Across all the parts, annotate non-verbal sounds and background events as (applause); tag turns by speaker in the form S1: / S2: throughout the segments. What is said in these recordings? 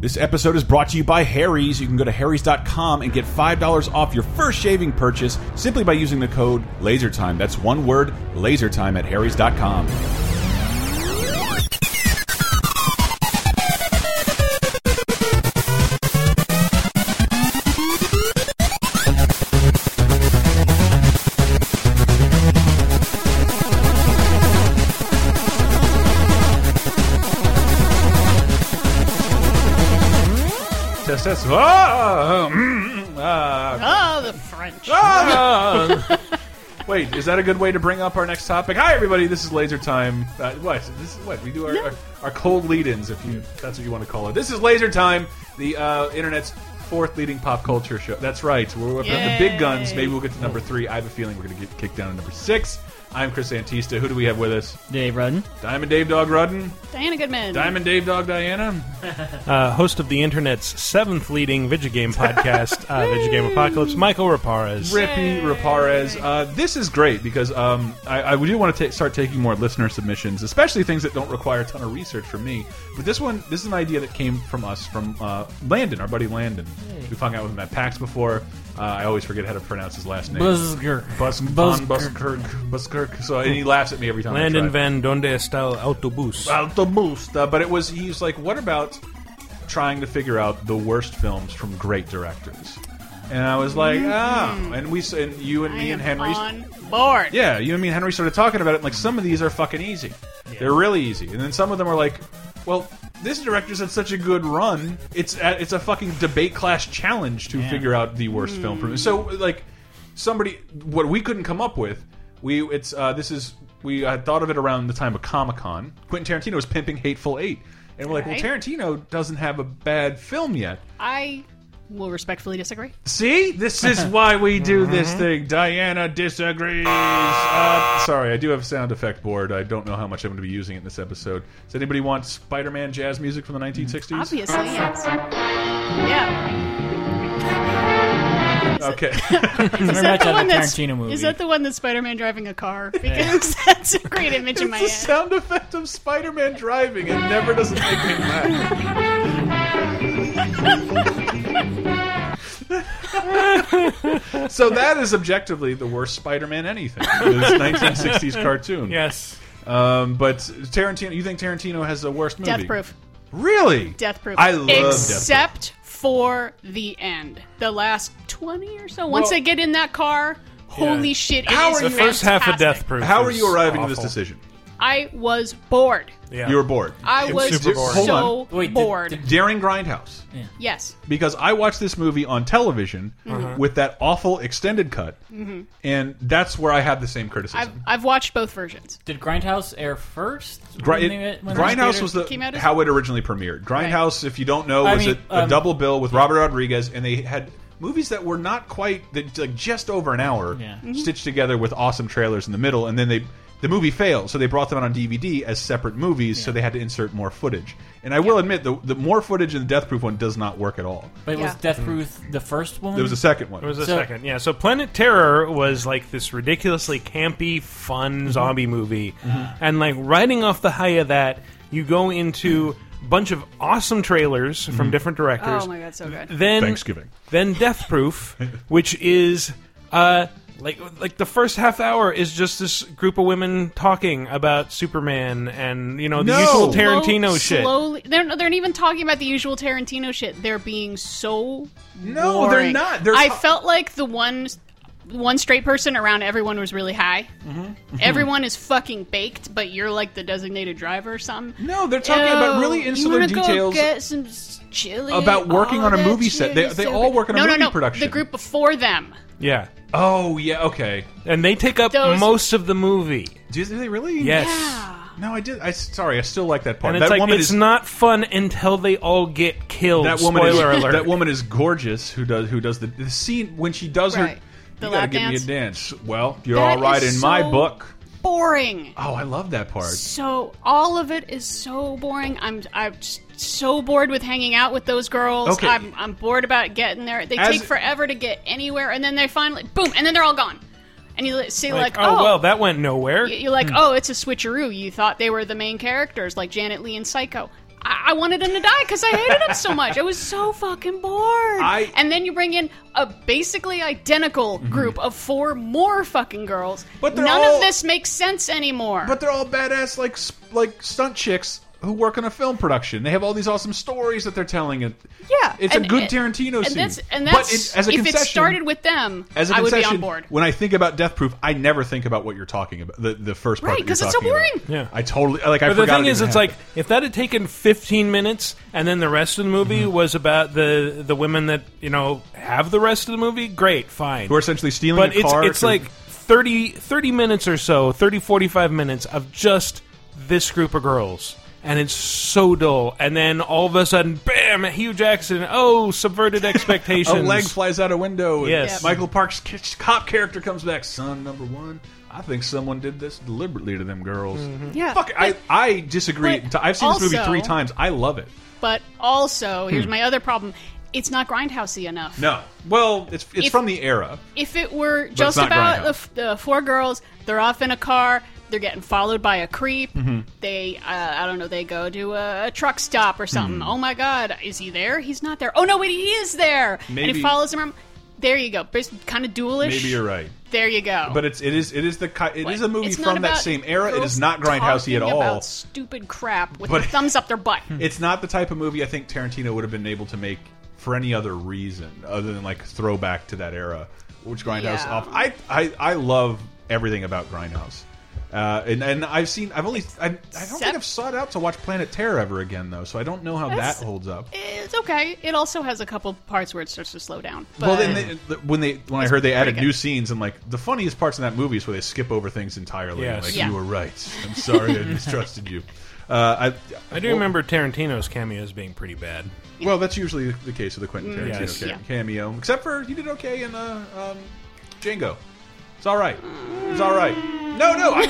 S1: This episode is brought to you by Harry's. You can go to harrys.com and get $5 off your first shaving purchase simply by using the code LASERTIME. That's one word, LASERTIME at harrys.com.
S2: Test, test. Ah, mm, ah,
S3: Oh, the French.
S2: ah. Wait, is that a good way to bring up our next topic? Hi, everybody. This is Laser Time. Uh, what? This is what we do our, our, our cold lead-ins, if you that's what you want to call it. This is Laser Time, the uh, internet's fourth leading pop culture show. That's right. We're up in the big guns.
S3: Yay.
S2: Maybe we'll get to number three. I have a feeling we're going to get kicked down to number six. I'm Chris Antista. Who do we have with us?
S4: Dave Rudden.
S2: Diamond Dave Dog Rudden.
S3: Diana Goodman.
S2: Diamond Dave Dog Diana.
S5: uh, host of the internet's seventh leading video
S2: (laughs)
S5: game podcast, uh, Video Game Apocalypse, Michael Raparez.
S2: Rippy Raparez. Uh, this is great because um, I, I do want to ta start taking more listener submissions, especially things that don't require a ton of research from me. But this one, this is an idea that came from us, from uh, Landon, our buddy Landon. We've hung out with him at PAX before. Uh, I always forget how to pronounce his last name.
S4: Buzzger.
S2: Bus
S4: Buzz-
S2: Buzz Buskirk. Buskirk. So and he laughs at me every time. I
S5: Landon
S2: try.
S5: Van Donde Estal Autobus.
S2: Altamust. Uh, but it was he's like, what about trying to figure out the worst films from great directors? And I was like, ah. And we s- and you and
S3: I
S2: me
S3: am
S2: and Henry.
S3: on board.
S2: Yeah, you and me and Henry started talking about it. And like some of these are fucking easy. They're really easy. And then some of them are like, well, this director's had such a good run. It's a, it's a fucking debate class challenge to figure out the worst film from. So like somebody what we couldn't come up with, we it's uh, this is we had thought of it around the time of Comic Con. Quentin Tarantino was pimping Hateful Eight, and we're like,
S3: Right.
S2: well, Tarantino doesn't have a bad film yet.
S3: I will respectfully disagree.
S2: See, this is why we do this thing. Diana disagrees. Uh, sorry, I do have a sound effect board. I don't know how much I'm going to be using it in this episode. Does anybody want Spider-Man jazz music from the 1960s?
S3: Obviously, yes. Yeah. (laughs)
S2: Okay. (laughs)
S3: Is
S4: much
S3: that, the
S4: of a
S3: one that's,
S4: Tarantino movie.
S3: is that the one that's Spider-Man driving a car? Because (laughs) that's a great image in my uh,
S2: it's the
S3: head.
S2: sound effect of Spider-Man driving. It never doesn't make me laugh. so that is objectively the worst Spider-Man anything. This 1960s cartoon.
S5: Yes.
S2: Um, but Tarantino, you think Tarantino has the worst movie?
S3: Death proof.
S2: Really?
S3: Death proof.
S2: I love Death
S3: Except for the end. The last 20 or so. Once
S2: Well-
S3: they get in that car, holy shit, it
S2: How
S3: is
S2: are you-
S5: The first half of
S3: fantastic.
S5: Death Proof.
S2: Proof. How are
S5: is
S2: you arriving at this
S5: awful.
S2: decision?
S3: I was bored.
S5: Yeah.
S2: You were bored.
S3: I
S5: It's
S3: was
S5: super boring.
S2: Hold
S3: so
S2: on.
S4: Wait, did-
S3: bored.
S4: did-
S2: Daring Grindhouse.
S5: Mm-hmm.
S3: yes.
S2: Because I watched this movie on television
S3: Mm-hmm.
S2: with that awful extended cut, and that's where I had the same
S3: I've,
S2: criticism.
S3: I've watched both versions.
S4: Did Grindhouse air first?
S2: Gri-
S4: When
S2: it-
S4: they- when they
S2: Grindhouse
S4: theater-
S2: was the
S3: came out as-
S2: how it originally premiered. Grindhouse, if you don't know,
S4: I
S2: was
S4: mean,
S2: a, a
S4: um,
S2: double bill with Robert Rodriguez, and they had movies that were not quite that like just over an hour
S4: Yeah.
S2: stitched together with awesome trailers in the middle, and then they the movie failed, so they brought them out on DVD as separate movies, so they had to insert more footage. And I will admit, the the more footage in the Death Proof one does not work at all.
S4: But was
S3: Yeah.
S4: Death Proof the first one?
S2: There was a second one.
S5: It was a
S4: So-
S5: second. Yeah. So Planet Terror was like this ridiculously campy, fun
S2: Mm-hmm.
S5: zombie movie, and like riding off the high of that, you go into a bunch of awesome trailers
S2: Mm-hmm.
S5: from different directors.
S3: Oh my god, so good.
S5: Then
S2: Thanksgiving.
S5: Then Death Proof,
S2: (laughs)
S5: which is uh like like the first half hour is just this group of women talking about Superman and you know the
S2: No!
S5: usual
S2: Slow-
S5: Tarantino
S3: Slow-
S5: shit.
S3: Slowly, they're they're not even talking about the usual Tarantino shit. They're being so
S2: No, they're
S3: boring.
S2: not. They're
S3: I
S2: ta-
S3: felt like the one one straight person around everyone was really high.
S2: Mm-hmm.
S3: Everyone is fucking baked, but you're like the designated driver or something.
S2: No, they're talking about
S3: Oh,
S2: really insular
S3: you wanna
S2: details.
S3: Go get some s- chili.
S2: About working
S3: Oh,
S2: on a
S3: that
S2: movie set.
S3: chili
S2: They- they
S3: so
S2: all
S3: good.
S2: work on a
S3: no,
S2: movie
S3: no, no.
S2: production.
S3: The group before them.
S5: Yeah.
S2: oh yeah, okay.
S5: And they take up
S3: Those-
S5: most of the movie.
S2: Do they really?
S5: Yes.
S2: No, I did. I sorry, I still like that part.
S5: And it's
S2: that
S5: like
S2: woman
S5: it's
S2: is
S5: not fun until they all get killed.
S2: that woman
S5: Spoiler
S2: is,
S5: alert.
S2: That woman is gorgeous. Who does who does the, the scene when she does her?
S3: Right. The
S2: you gotta
S3: lap
S2: give
S3: dance?
S2: me a dance. Well, you're
S3: That
S2: all right in
S3: is
S2: my
S3: so-
S2: book.
S3: Boring.
S2: Oh, I love that part.
S3: So all of it is so boring. I'm I'm just so bored with hanging out with those girls.
S2: Okay.
S3: I'm I'm bored about getting there. They
S2: As-
S3: take forever to get anywhere, and then they finally boom, and then they're all gone. And you li- see like,
S5: Like, oh, well, that went nowhere.
S2: Hmm.
S3: y- you're like oh, it's a switcheroo. You thought they were the main characters, like Janet Lee and Psycho. I, I wanted him to die because I hated him so much. I was so fucking bored.
S2: I- Mm-hmm.
S3: and then you bring in a basically identical group of four more fucking girls.
S2: But they're
S3: none
S2: all-
S3: of this makes sense anymore.
S2: But they're all badass, like s- like stunt chicks who work on a film production. They have all these awesome stories that they're telling. It
S3: yeah,
S2: it's
S3: and-
S2: a good
S3: and-
S2: Tarantino
S3: and
S2: scene.
S3: That's, and
S2: But
S3: that's
S2: it- as a
S3: if it
S2: concession-
S3: started with them,
S2: As a
S3: I would be
S2: concession,
S3: on board.
S2: when I think about Death Proof, I never think about what you're talking about. The the first part,
S3: Right,
S2: that you're
S3: 'cause it's so
S2: talking about.
S5: boring. Yeah.
S2: I totally like. I
S5: But the
S2: forgot
S5: thing
S2: it
S5: is,
S2: even
S5: it's like
S2: happened.
S5: if that had taken 15 minutes, and then the rest of the movie
S2: Mm-hmm.
S5: was about the the women that you know have the rest of the movie. Great, fine.
S2: who are essentially stealing.
S5: but
S2: a
S5: it's
S2: car
S5: it's
S2: to-
S5: like 30, 30 minutes or so, 30, 45 minutes of just this group of girls. And it's so dull. And then all of a sudden, bam, a huge accident. Oh, subverted
S2: (laughs) a
S5: expectations.
S2: leg flies out a window. And
S5: Yes. Yep.
S2: Michael Park's k- cop character comes back. Son number one. I think someone did this deliberately to them girls.
S3: yeah,
S2: Fuck, I, I disagree.
S3: Mm-hmm. but
S2: T- I've seen this movie
S3: also-
S2: three times. I love it.
S3: But also, here's my other problem: it's not grindhousey enough.
S2: Hmm. No, well, it's it's
S3: If-
S2: from the era.
S3: If it were just
S2: not
S3: about
S2: grindhouse.
S3: the, f- the four girls, they're off in a car. They're getting followed by a creep.
S2: Mm-hmm.
S3: They, uh, I don't know, they go to a, a truck stop or something.
S2: Hmm.
S3: Oh my god, is he there? He's not there. Oh no, wait, he is there. And
S2: Maybe-
S3: he follows him. around. There you go. Kind of duelish.
S2: Maybe you're right.
S3: There you go.
S2: But it's it is it is the ki- it is a movie
S3: It's not
S2: from that
S3: about
S2: same era. It
S3: girls
S2: is not grindhousey at
S3: talking
S2: all.
S3: About stupid crap with
S2: But- Hmm.
S3: their thumbs up
S2: (laughs)
S3: their butt.
S2: it's not the type of movie I think Tarantino would have been able to make for any other reason other than like throwback to that era, which Grindhouse
S3: Yeah.
S2: off. I, I I love everything about Grindhouse. Uh, and, and I've seen I've only I, I don't think
S3: Except-
S2: I've sought out to watch Planet Terror ever again though, so I don't know how
S3: That's-
S2: that holds up.
S3: It's okay. It also has a couple parts where it starts to slow down. But
S2: Well, then they, th- when they when I heard they added
S3: pretty good.
S2: new scenes and like the funniest parts in that movie is where they skip over things entirely.
S5: Yes.
S2: Like
S3: Yeah.
S2: you were right. I'm
S3: (laughs)
S2: sorry I mistrusted you. Uh, I
S5: I do remember Tarantino's cameos being pretty bad.
S2: Well, that's usually the case with the Quentin Tarantino
S5: Yes.
S2: ca-
S3: Yeah.
S2: cameo, except for you did okay in uh, um, Django. It's all right. It's all right. No, no. I,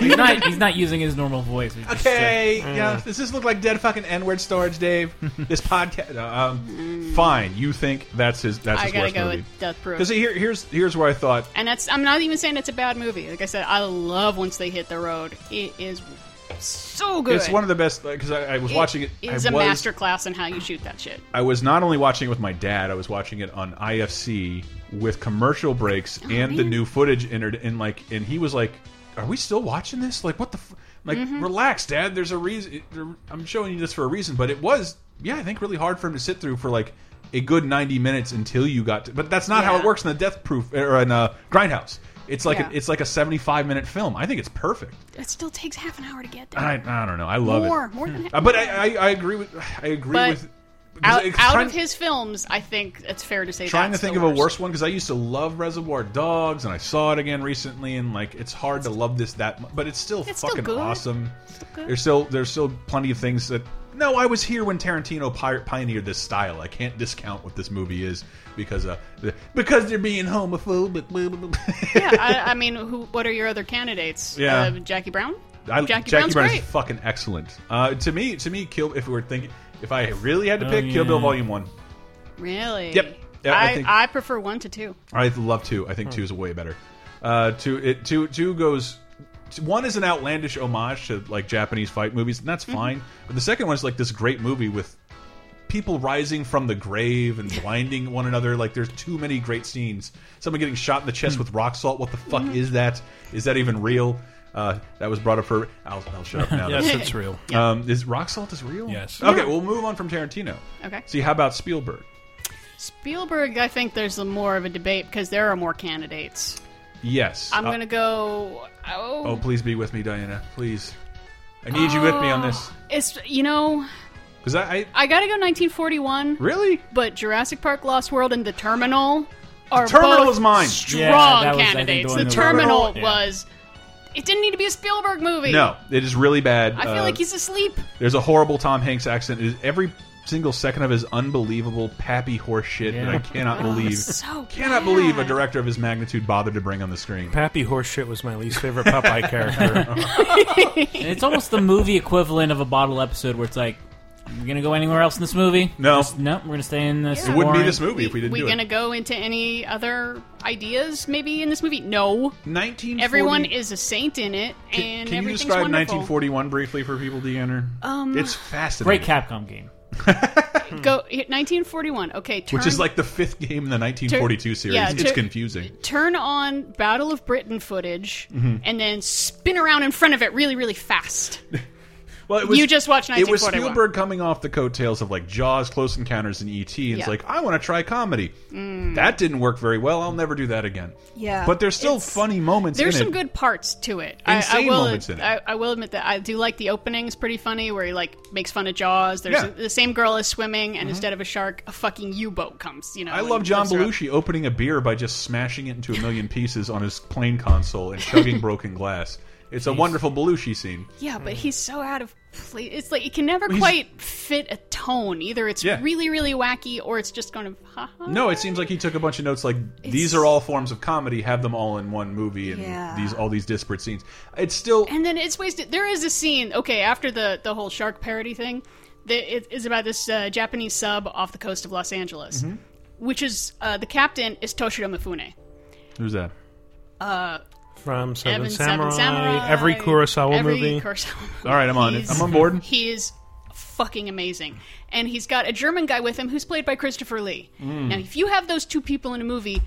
S4: He's not, he's not using his normal voice. He's just, uh,
S2: okay. Yeah. Does this look like dead fucking N word storage, Dave? this podcast. no, um, fine. You think that's his? That's
S3: I
S2: his
S3: gotta
S2: worst
S3: go
S2: movie.
S3: with Death Proof.
S2: Because here, here's here's where I thought
S3: And that's I'm not even saying it's a bad movie. Like I said, I love once they hit the road. It is so good.
S2: it's one of the best. Because I, I was watching it.
S3: It is
S2: I
S3: a
S2: was,
S3: masterclass in how you shoot that shit.
S2: I was not only watching it with my dad, I was watching it on IFC with commercial breaks
S3: Oh,
S2: and the new footage entered in like and he was like, "Are we still watching this? Like what the f like
S3: Mm-hmm.
S2: relax, dad, there's a reason I'm showing you this for a reason, but it was yeah, I think really hard for him to sit through for like a good 90 minutes until you got to, but that's not how
S3: Yeah.
S2: it works in the death proof or in uh, grindhouse. It's like
S3: Yeah.
S2: a, it's like a 75 minute film. I think it's perfect.
S3: It still takes half an hour to get there.
S2: I, I don't know. I love
S3: more,
S2: it.
S3: more than half.
S2: Uh, but I, I, I agree with I agree
S3: But
S2: with
S3: out,
S2: because
S3: out
S2: trying-
S3: of his films, I think it's fair to say.
S2: trying to
S3: that's
S2: think
S3: the
S2: of a worse one because I used to love Reservoir Dogs, and I saw it again recently, and like it's hard to love this that, much, but it's still
S3: It's still
S2: fucking
S3: good.
S2: awesome.
S3: good.
S2: There's still there's still plenty of things that. No, I was here when Tarantino pi- pioneered this style. I can't discount what this movie is because uh the- because they're being homophobic. blah, blah, blah.
S3: yeah, I, I mean, who, what are your other candidates?
S2: Yeah.
S3: Uh, Jackie Brown.
S2: (laughs) I, Jackie
S3: Jackie, Brown's
S2: Brown
S3: great.
S2: is fucking excellent. Uh, to me, to me, Kill. If we were thinking, if I really had to
S4: Oh,
S2: pick, Kill Bill
S4: yeah.
S2: Volume One,
S3: really?
S2: Yep. Yeah, I
S3: I,
S2: think-
S3: I prefer one to two.
S2: I love two. I think
S5: Hmm.
S2: two is way better. Uh, two, it, two, two goes. One is an outlandish homage to like Japanese fight movies, and that's
S5: Hmm.
S2: fine. But the second one is like this great movie with people rising from the grave
S5: (laughs)
S2: and blinding one another. Like there's too many great scenes. Someone getting shot in the
S5: Hmm.
S2: chest with rock salt. What the fuck is that? Is that even real? Uh, that was brought up for. I'll, I'll shut
S5: (laughs)
S2: up now.
S5: Yes, it's real.
S2: Um, is rock salt is real?
S5: Yes.
S2: Okay, we'll move on from Tarantino.
S3: Okay.
S2: See, how about Spielberg?
S3: Spielberg, I think there's a more of a debate because there are more candidates.
S2: Yes.
S3: I'm
S2: Uh,
S3: gonna go. Oh,
S2: Oh, please be with me, Diana. Please. I need you with me on this.
S3: it's you know
S2: Because I, I.
S3: I gotta go 1941,
S2: Really?
S3: but Jurassic Park, Lost World, and The Terminal are
S2: Terminal
S3: both
S2: is mine.
S3: Strong
S4: Yeah, that was, I think,
S3: candidates.
S4: the
S3: The,
S4: one that-
S3: Terminal
S2: Terminal-
S3: was. It didn't need to be a Spielberg movie.
S2: No, it is really bad.
S3: I feel
S2: Uh,
S3: like he's asleep.
S2: There's a horrible Tom Hanks accent. It is every single second of his unbelievable pappy horse shit that I cannot believe.
S3: Oh, So
S2: cannot
S3: bad.
S2: believe a director of his magnitude bothered to bring on the screen.
S5: Pappy Horseshit was my least
S2: (laughs)
S5: favorite Popeye character.
S4: and it's almost the movie equivalent of a bottle episode where it's like, We're gonna go anywhere else in this movie?
S2: No.
S4: Just- no. We're gonna stay in this.
S3: It
S2: It wouldn't be
S4: boring-
S2: this movie if we didn't
S3: we
S2: do
S3: gonna
S2: it.
S3: go into any other ideas maybe in this movie? No.
S2: 1940
S3: Everyone is a saint in it, and
S2: Can, can you
S3: everything's
S2: describe
S3: wonderful.
S2: 1941 briefly for people, Deanna? Um, it's
S4: Great
S2: fascinating.
S4: Capcom game.
S3: Go 1941. Okay, turn,
S2: Which is like the fifth game in the 1942 series.
S3: yeah,
S2: it's
S3: tur-
S2: confusing.
S3: turn on Battle of Britain footage,
S2: Mm-hmm.
S3: and then spin around in front of it really,
S2: (laughs)
S3: really fast.
S2: Well, it was,
S3: You just watched
S2: It was
S3: 1941.
S2: Spielberg coming off the coattails of like Jaws, Close Encounters, and ET, and it's
S3: Yeah. Mm.
S2: like I want to try comedy. That didn't work very well. I'll never do that again.
S3: Yeah.
S2: but there's still
S3: It's-
S2: funny moments.
S3: There's
S2: in
S3: some
S2: it.
S3: good parts to it. I,
S2: Insane
S3: I will,
S2: moments in it.
S3: I, I will admit that I do like the openings. Pretty funny, where he like makes fun of Jaws. There's
S2: Yeah. Mm-hmm.
S3: a- the same girl is swimming, and instead of a shark, a fucking U-boat comes. You know,
S2: I
S3: and
S2: love John
S3: lifts her up.
S2: Belushi opening a beer by just smashing it into a million pieces on his plane console and
S3: (laughs)
S2: chugging broken glass. It's a wonderful Belushi scene.
S3: Yeah, but he's so out of place. It's like it can never
S2: Hmm. he's-
S3: quite fit a tone. Either it's
S2: Yeah.
S3: really, really wacky, or it's just kind of ha ha.
S2: No, it seems like he took a bunch of notes. Like these are all forms of comedy. Have them all in one movie, and
S3: Yeah.
S2: these all these disparate scenes. It's still
S3: and then it's wasted. There is a scene, okay, after the the whole shark parody thing, that it is about this uh, Japanese sub off the coast of Los Angeles,
S2: Mm-hmm.
S3: which is uh, the captain is Toshiro Mifune.
S2: who's that?
S5: From Seven,
S3: Evan
S5: Samurai,
S3: Seven Samurai,
S5: every Kurosawa
S3: every
S5: movie.
S3: Kurosawa movie.
S2: All right, I'm on it.
S3: He's-
S2: I'm on board.
S3: He is fucking amazing, and he's got a German guy with him who's played by Christopher Lee.
S2: Mm.
S3: Now, if you have those two people in a movie.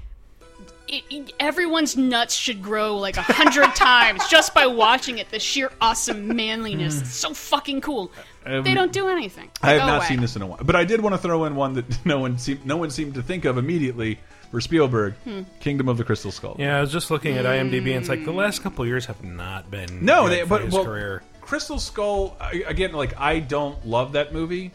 S3: It, it- everyone's nuts should grow like
S2: (laughs)
S3: a hundred times just by watching it. The sheer awesome manliness, it's so fucking cool. they don't do anything.
S2: Um, I have
S3: Go
S2: not
S3: away.
S2: seen this in a while, but I did want to throw in one that (laughs) no one seemed no one seemed to think of immediately for Spielberg,
S3: Hmm.
S2: Kingdom of the Crystal Skull.
S5: Yeah, I was just looking at IMDb, and it's like the last couple years have not been
S2: No,
S5: good
S2: they,
S5: for
S2: but
S5: his
S2: well,
S5: career.
S2: Crystal Skull I- again. Like I don't love that movie,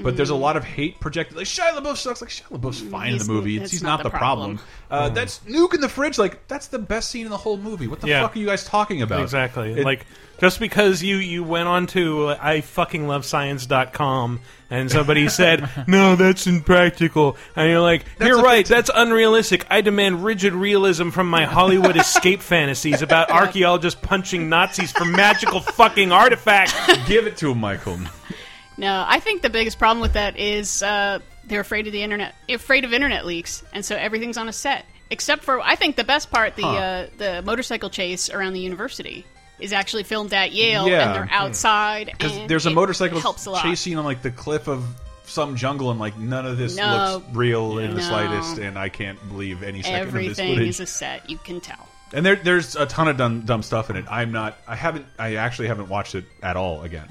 S2: but there's a lot of hate projected. Like Shia LaBeouf sucks. Like Shia LaBeouf's fine in
S3: Mm. He's-
S2: the movie. It's,
S3: that's
S2: he's not, the problem.
S5: Hmm.
S2: Uh, That's Nuke in the fridge. Like that's the best scene in the whole movie. What the
S5: Yeah.
S2: fuck are you guys talking about?
S5: Exactly.
S2: It-
S5: like just because you you went on to uh, I fucking love science.com and (laughs) somebody said, "No, that's impractical." And you're like, "You're
S2: a
S5: right. That's unrealistic. I demand rigid realism from my Hollywood (laughs) escape fantasies about archaeologists punching Nazis for magical fucking artifacts."
S2: give it to him, Michael.
S3: No, I think the biggest problem with that is uh, they're afraid of the internet, afraid of internet leaks, and so everything's on a set. Except for, I think the best part, the uh, the motorcycle chase around the university is actually filmed at Yale,
S2: Yeah.
S3: and they're outside.
S2: Because
S3: and
S2: there's a
S3: it
S2: motorcycle
S3: helps a lot.
S2: chasing on like the cliff of some jungle, and like none of this
S3: No.
S2: looks real in the
S3: No.
S2: slightest. And I can't believe any second of
S3: Everything
S2: this
S3: is
S2: footage.
S3: a set. You can tell.
S2: and there, there's a ton of dumb, dumb stuff in it. I'm not. I haven't. I actually haven't watched it at all again,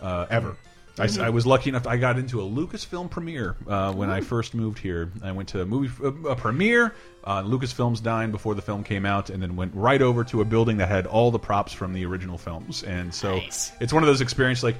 S2: uh, ever. I,
S3: Mm-hmm.
S2: s- I was lucky enough. I got into a Lucasfilm premiere uh, when I first moved here. I went to a movie a, a premiere on Lucasfilm's dime before the film came out, and then went right over to a building that had all the props from the original films. And so
S3: Nice.
S2: it's one of those experiences like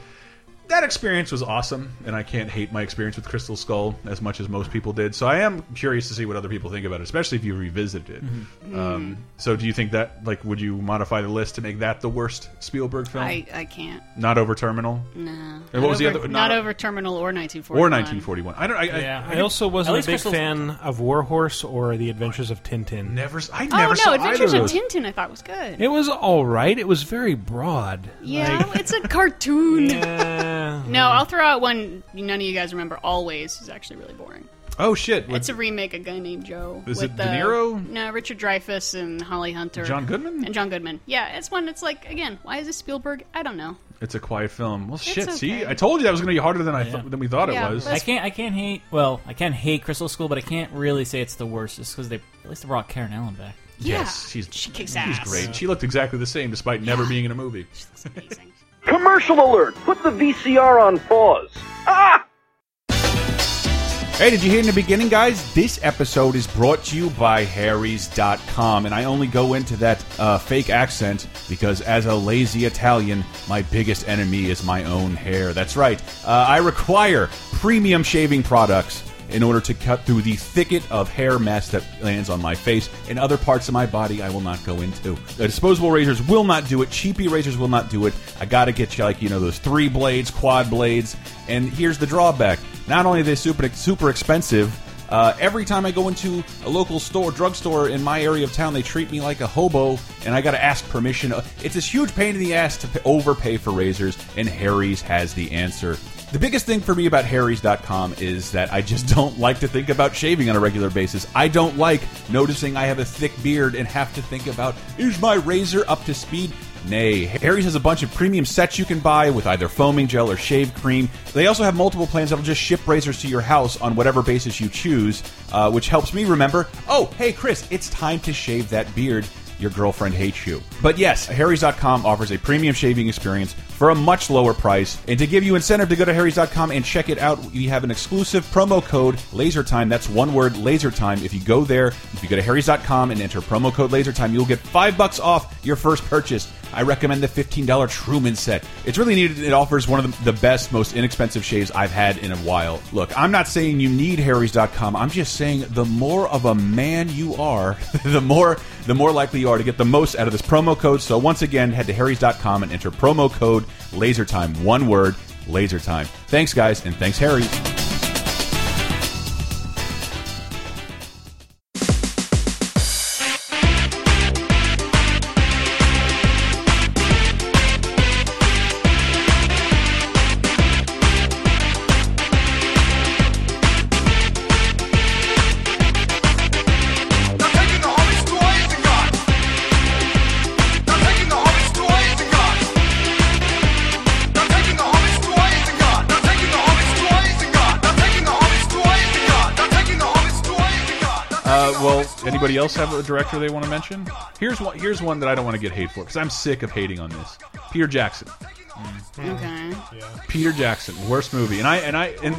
S2: that experience was awesome, and I can't hate my experience with Crystal Skull as much as most people did. So I am curious to see what other people think about it, especially if you revisited it.
S4: Mm-hmm.
S2: Um, so do you think that, like, would you modify the list to make that the worst Spielberg film?
S3: I, I can't.
S2: Not over Terminal Hmm.
S3: No.
S2: And what
S3: not
S2: was the
S3: over,
S2: other-
S3: Not,
S2: not-
S3: over Terminal or 1941.
S2: or 1941? I don't. I,
S4: Yeah.
S5: (laughs) I also wasn't a
S4: least
S5: big
S4: Crystal's-
S5: fan of Warhorse or The Adventures of Tintin.
S2: I never. s- I
S3: Oh
S2: never saw
S3: no! Adventures
S2: either of
S3: of
S2: those.
S3: Tintin. I thought was good.
S5: It was all right. It was very broad.
S3: yeah, it's a
S2: (laughs)
S3: cartoon.
S5: Uh,
S3: No, I'll throw out one none of you guys remember. Always is actually really boring.
S2: Oh shit! With
S3: It's a remake of Guy Named Joe.
S2: Is
S3: with
S2: it De
S3: uh,
S2: Niro?
S3: no, Richard Dreyfuss and Holly Hunter.
S2: John Goodman?
S3: And John Goodman. Yeah, it's one that's like, again, why is this Spielberg? I don't know.
S2: It's a quiet film. Well, shit. See,
S3: okay.
S2: I told you that was going to be harder than I th than we thought
S3: Yeah,
S2: it was.
S4: I
S3: let's-
S4: can't. I can't hate. Well, I can't hate Crystal School, but I can't really say it's the worst, just because they at least they brought Karen Allen back.
S3: Yeah.
S2: Yes, she's
S3: she kicks
S2: she's
S3: ass.
S2: great. She looked exactly the same despite never being in a movie.
S3: She looks
S2: (laughs)
S3: amazing.
S6: Commercial alert! Put the VCR on pause. Ah!
S1: Hey, did you hear in the beginning, guys? This episode is brought to you by Harry's.com, and I only go into that uh, fake accent because, as a lazy Italian, my biggest enemy is my own hair. That's right. Uh, I require premium shaving products in order to cut through the thicket of hair mess that lands on my face and other parts of my body I will not go into. The disposable razors will not do it. Cheapy razors will not do it. I gotta get you like you know those three blades, quad blades, and here's the drawback: not only are they super super expensive. Uh, every time I go into a local store, drugstore in my area of town, they treat me like a hobo, and I got to ask Uh, permission. It's this huge pain in the ass to p- overpay for razors, and Harry's has the answer. The biggest thing for me about Harry's.com is that I just (laughs) don't like to think about shaving on a regular basis. I don't like noticing I have a thick beard and have to think about, is my razor up to speed? Nay. Harry's has a bunch of premium sets you can buy with either foaming gel or shave cream. They also have multiple plans that'll just ship razors to your house on whatever basis you choose, uh, which helps me remember, oh, hey, Chris, it's time to shave that beard your girlfriend hates you. But yes, Harry's.com offers a premium shaving experience for a much lower price. And to give you incentive to go to Harry's.com and check it out, we have an exclusive promo code LASERTIME. That's one word, LASERTIME. If you go there, if you go to Harry's.com and enter promo code LASERTIME, you'll get five bucks off your first purchase. I recommend the $15 Truman set. It's really neat. It offers one of the, the best, most inexpensive shaves I've had in a while. Look, I'm not saying you need Harry's.com. I'm just saying the more of a man you are, (laughs) the more the more likely you are to get the most out of this promo code. So once again, head to Harry's.com and enter promo code LASERTIME. One word, LASERTIME. Thanks, guys, and thanks, Harry's.
S7: Now taking the Hobbit's toys and guns. Now taking the Hobbit's toys and guns. Now taking the Hobbit's toys and guns. Now taking the Hobbit's toys and guns. Now taking the Hobbit's toys and guns. Now taking the Hobbit's toys and guns.
S2: Uh, well, anybody else have a director they want to mention? Here's one. Here's one that I don't want to get hate for because I'm sick of hating on this. Peter Jackson.
S3: Okay.
S2: Peter Jackson, worst movie, and I and I and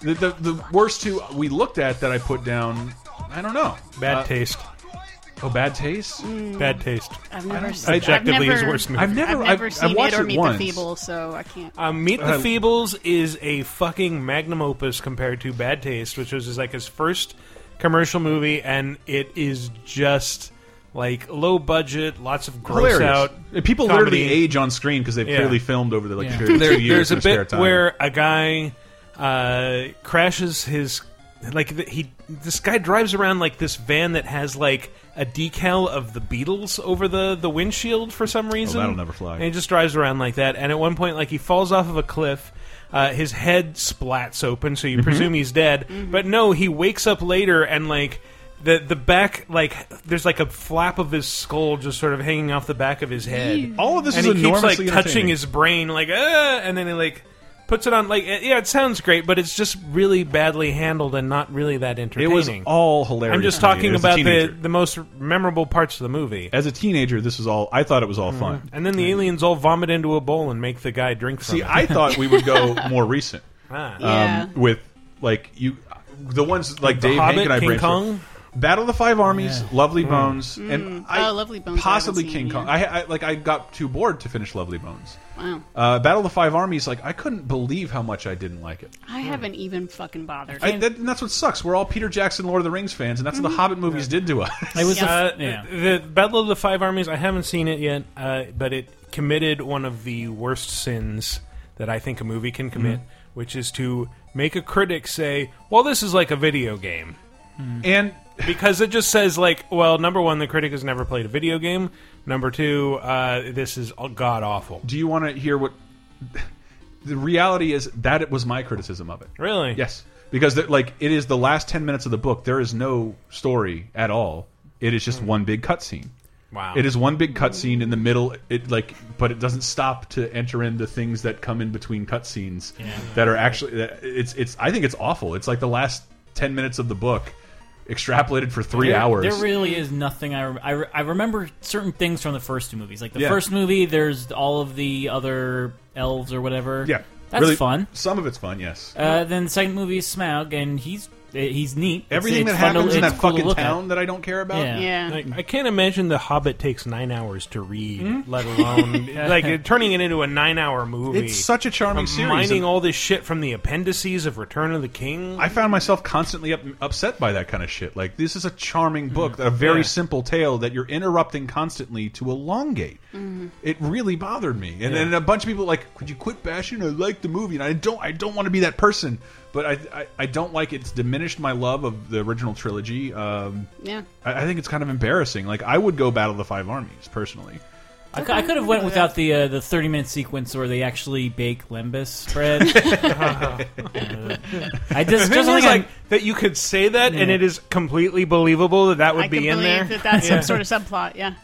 S2: the the, the worst two we looked at that I put down. I don't know.
S5: Bad
S2: Uh,
S5: taste. Mm.
S2: Oh, bad taste.
S5: Bad taste.
S3: I've never seen.
S2: I-
S5: Objectively,
S3: I've
S5: his
S3: never,
S5: worst movie.
S2: I've never.
S3: I've never seen
S2: watched
S3: it or Meet
S2: once.
S3: the Feeble, so I can't.
S5: Uh, Meet the
S2: Uh,
S5: Feebles is a fucking magnum opus compared to Bad Taste, which was his, like his first commercial movie, and it is just like low budget, lots of gross
S2: Hilarious.
S5: out.
S2: People
S5: comedy.
S2: literally age on screen because they've
S5: Yeah.
S2: clearly filmed over the like
S4: Yeah.
S2: period of
S5: There-
S2: two years
S5: there's a
S2: in their spare
S5: bit
S2: time.
S5: where a guy uh, crashes his like the, he this guy drives around like this van that has like a decal of the Beatles over the the windshield for some reason.
S2: Oh, that'll never fly.
S5: And he just drives around like that. And at one point, like he falls off of a cliff. Uh, his head splats open, so
S2: Mm-hmm.
S5: you presume he's dead. But no, he wakes up later and like. The, the back like there's like a flap of his skull just sort of hanging off the back of his head
S2: all of this
S5: and
S2: is
S5: he keeps
S2: enormously
S5: like touching
S2: entertaining.
S5: his brain, like, uh, and then he like puts it on, like, uh, yeah, it sounds great, but it's just really badly handled and not really that
S2: It
S5: entertaining.
S2: was all hilarious.
S5: I'm just
S2: to me
S5: talking
S2: as a
S5: about the
S2: teenager.
S5: the most memorable parts of the movie,
S2: As a teenager, this is all. I thought it was all fun.
S5: Mm. and then the aliens all vomit into a bowl and make the guy drink from
S2: See,
S5: it. (laughs)
S2: I thought we would go more recent.
S5: Ah.
S3: Yeah.
S2: um, with like you, the ones like
S5: The
S2: Dave Hank
S5: Hobbit,
S2: and I
S5: King
S2: brainstormed.
S5: Kong.
S2: Battle of the Five Armies, Lovely Bones, and I,
S3: Oh, Lovely Bones I
S2: possibly
S3: haven't
S2: King
S3: seen
S2: Kong.
S3: yet.
S2: I, I like I got too bored to finish Lovely Bones.
S3: wow.
S2: Uh, Battle of the Five Armies, like I couldn't believe how much I didn't like it.
S3: I haven't even fucking bothered.
S2: I, that, and that's what sucks. We're all Peter Jackson, Lord of the Rings fans, and that's
S3: Mm-hmm.
S2: what the Hobbit movies did to us.
S4: It was
S3: Yeah.
S5: Uh,
S4: the, yeah.
S5: The Battle of the Five Armies. I haven't seen it yet, uh, but it committed one of the worst sins that I think a movie can commit,
S2: Mm-hmm.
S5: which is to make a critic say, "Well, this is like a video game."
S2: (laughs) and
S5: because it just says like, well, number one, the critic has never played a video game. Number two, uh, this is god awful.
S2: do you want to hear what (laughs) the reality is? That it was my criticism of it.
S5: Really?
S4: (laughs)
S2: Yes, because they're- like it is the last ten minutes of the book. There is no story at all. It is
S4: Hmm.
S2: just one big cutscene.
S5: Wow.
S2: It is one big cutscene in the middle. It like, but it doesn't stop to enter in the things that come in between cutscenes that are actually. that- It's it's. I think it's awful. It's like the last ten minutes of the book, extrapolated for three
S4: There-
S2: hours.
S4: There really is nothing. I, rem- I, re- I remember certain things from the first two movies. Like the
S2: Yeah.
S4: first movie, there's all of the other elves or whatever.
S2: yeah,
S4: that's
S2: Really-
S4: fun.
S2: Some of it's fun. Yes,
S4: Uh, then the second movie is Smaug, and he's eh, he's neat. It's-
S2: everything
S4: it's
S2: that
S4: fun to-
S2: happens in
S4: it's
S2: that
S4: cool to
S2: fucking
S4: look at.
S2: town that I don't care about.
S4: Yeah.
S3: yeah.
S5: Like, I can't imagine The Hobbit takes nine hours to read,
S2: Hmm? (laughs)
S5: let alone like it- turning it into a nine-hour movie.
S2: It's such a charming series.
S5: Mining
S2: and
S5: all this shit from the appendices of Return of the King.
S2: I found myself constantly up, upset by that kind of shit. Like, this is a charming book, a very
S5: Yeah.
S2: simple tale that you're interrupting constantly to elongate. It really bothered me, and then a bunch of people were like, could you quit bashing? I like the movie, and I don't, I don't want to be that person, but I, I, I don't like it's diminished my love of the original trilogy. Um,
S3: Yeah.
S2: I, I think it's kind of embarrassing. Like, I would go Battle of the Five Armies personally.
S4: I, cou- I could have went without the uh, the thirty minute sequence where they actually bake
S2: (laughs)
S4: limbus bread. Uh, I just
S5: It's
S4: just like,
S5: like, like that you could say that and it is completely believable that that would
S3: I can
S5: be in
S3: believe
S5: there.
S3: that that's some sort of subplot.
S2: (laughs)
S3: Yeah.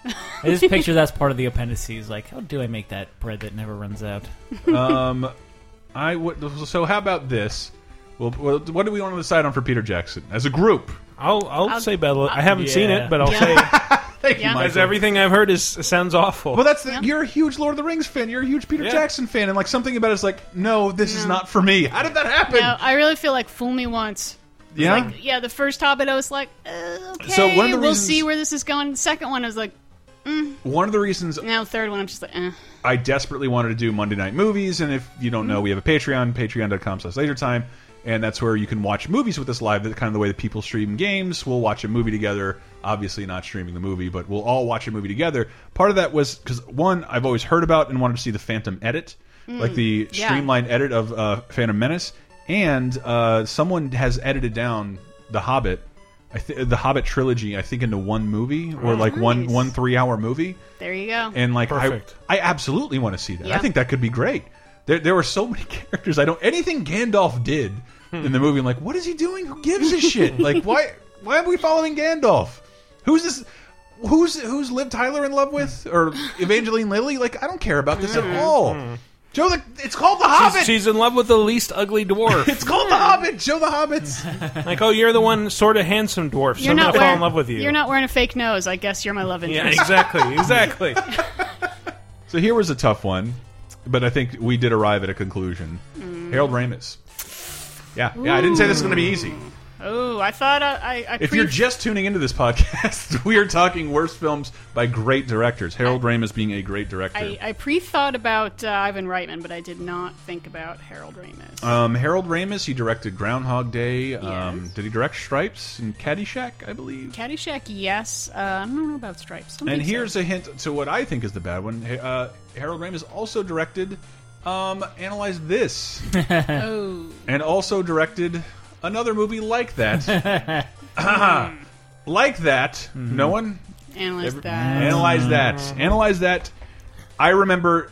S4: I just picture that's part of the appendices. Like, how do I make that bread that never runs out?
S2: I would. So how about this? Well, well, what do we want to decide on for Peter Jackson as a group?
S5: I'll, I'll
S3: I'll-
S5: say Bella. I haven't seen
S4: Yeah.
S5: it, but I'll
S3: Yeah.
S5: say
S2: Thank
S3: Yeah.
S2: you, (laughs)
S5: because
S2: Michael.
S5: everything I've heard is sounds awful.
S2: well, that's the,
S3: Yeah.
S2: you're a huge Lord of the Rings fan. You're a huge Peter
S5: Yeah.
S2: Jackson fan, and like something about it's like, no, this is
S3: No.
S2: not for me. How did that happen?
S3: No, I really feel like fool me once.
S2: yeah,
S3: Yeah, the first Hobbit, I was like, uh, okay,
S2: So one of the
S3: we'll
S2: reasons-
S3: see where this is going. The second one, I was like,
S2: one of the reasons
S3: now third one, I'm just like, eh.
S2: I desperately wanted to do Monday night movies, and if you don't know, we have a Patreon, patreon.com slash lasertime, and that's where you can watch movies with us live, That's kind of the way that people stream games. We'll watch a movie together, obviously not streaming the movie, but we'll all watch a movie together. Part of that was, because one, I've always heard about and wanted to see the Phantom edit, like the
S3: Mm, yeah.
S2: streamlined edit of uh, Phantom Menace, and uh, someone has edited down The Hobbit, I th the Hobbit trilogy, I think into one movie, or like one,
S3: Oh, nice.
S2: one three-hour movie,
S3: There you go.
S2: and like I,
S5: Perfect.
S2: I absolutely want to see that. I
S3: Yeah.
S2: think that could be great. There, there were so many (laughs) characters. I don't anything Gandalf did
S5: Hmm.
S2: in the movie. I'm like, what is he doing? Who gives a
S5: (laughs)
S2: shit? like, why? Why are we following Gandalf? Who's this? Who's who's Liv Tyler in love with or Evangeline Lilly? Like, I don't care about this at all. Joe, the, it's called the Hobbit.
S5: Hmm. she's, Hmm. she's in love with the least ugly dwarf.
S2: it's called the Hobbit. Joe the
S5: (laughs)
S2: Hobbits.
S5: like, oh, you're the one sort of handsome dwarf, so
S3: you're
S5: I'm
S3: not
S5: gonna
S3: wearing,
S5: fall in love with you.
S3: You're not wearing a fake nose. I guess you're my love
S5: Yeah,
S3: interest.
S5: exactly, exactly.
S2: so here was a tough one, but I think we did arrive at a conclusion. Harold Ramis. Yeah, yeah. I didn't say this was going to be easy.
S3: Oh, I thought I. I, I
S2: If
S3: pre-
S2: you're just tuning into this podcast, (laughs) we are talking worst films by great directors. Harold Ramis being a great director.
S3: I, I pre-thought about uh, Ivan Reitman, but I did not think about Harold Ramis.
S2: um, Harold Ramis, he directed Groundhog Day. Um,
S3: Yes.
S2: Did he direct Stripes and Caddyshack, I believe?
S3: Caddyshack, yes. Uh, I don't know about Stripes. Don't
S2: and
S3: think so.
S2: here's a hint to what I think is the bad one. Ha- Uh, Harold Ramis also directed um, Analyze
S3: (laughs)
S2: This,
S3: oh,
S2: and also directed another movie like that. (laughs) like that. No one?
S3: analyze
S2: Every-
S3: that.
S2: Analyze that. Analyze that. I remember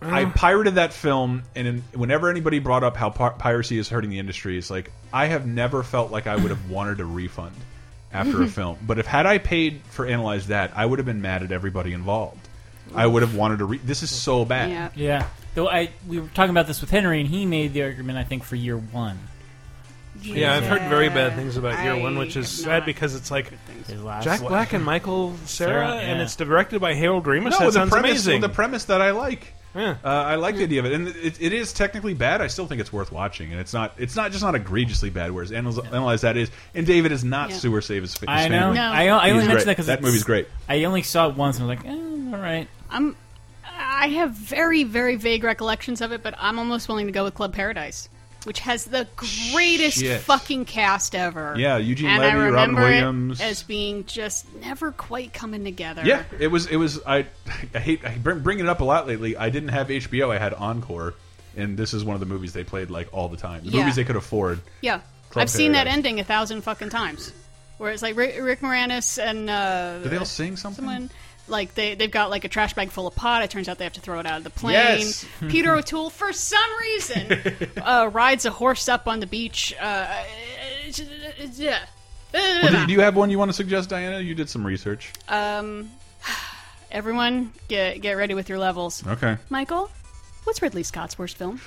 S2: I pirated that film, and in, whenever anybody brought up how pi piracy is hurting the industry, it's like I have never felt like I would have wanted a refund after a film. But if had I paid for Analyze That, I would have been mad at everybody involved. I would have wanted to. Re this is so bad.
S3: yeah.
S4: Yeah. Though I we were talking about this with Henry, and he made the argument I think for year one.
S5: Yeah, I've heard very bad things about Year
S3: I
S5: One, which
S3: have
S5: is sad
S3: not
S5: because it's like
S4: His last
S5: Jack
S4: one.
S5: Black and Michael Sarah,
S4: Sarah,
S5: and
S4: yeah.
S5: it's directed by Harold Ramis.
S2: No,
S5: that
S2: the
S5: sounds
S2: premise,
S5: amazing.
S2: the premise that I like.
S5: Yeah.
S2: Uh, I like the idea of it, and it, it is technically bad. I still think it's worth watching, and it's not. It's not just not egregiously bad. Whereas analyze, analyze that is, and David is not
S3: Yeah.
S2: sewer save his, his
S4: I know.
S2: family.
S3: No.
S4: I, I
S2: He's
S4: only
S2: great.
S4: mentioned that because
S2: That movie's great.
S4: I only saw it once and I was like, eh, all right.
S3: I'm. I have very very vague recollections of it, but I'm almost willing to go with Club Paradise, which has the greatest
S2: Shit.
S3: fucking cast ever.
S2: Yeah, Eugene
S3: and I
S2: Levy,
S3: remember
S2: Robin
S3: it
S2: Williams.
S3: as being just never quite coming together.
S2: Yeah, it was. It was. I, I hate I bring, bringing it up a lot lately. I didn't have HBO. I had Encore, and this is one of the movies they played like all the time. The
S3: Yeah.
S2: movies they could afford.
S3: Yeah.
S2: Club
S3: I've seen that
S2: Paradise.
S3: ending a thousand fucking times. Where it's like Rick, Rick Moranis and uh,
S2: Did they all sing something?
S3: someone like they they've got like a trash bag full of pot. It turns out they have to throw it out of the plane.
S2: Yes.
S3: (laughs) Peter O'Toole, for some reason,
S2: (laughs)
S3: uh, rides a horse up on the beach. Uh, yeah.
S2: Well, do, do you have one you want to suggest, Diana? You did some research.
S3: Um, everyone, get get ready with your levels.
S2: Okay.
S3: Michael, what's Ridley Scott's worst film?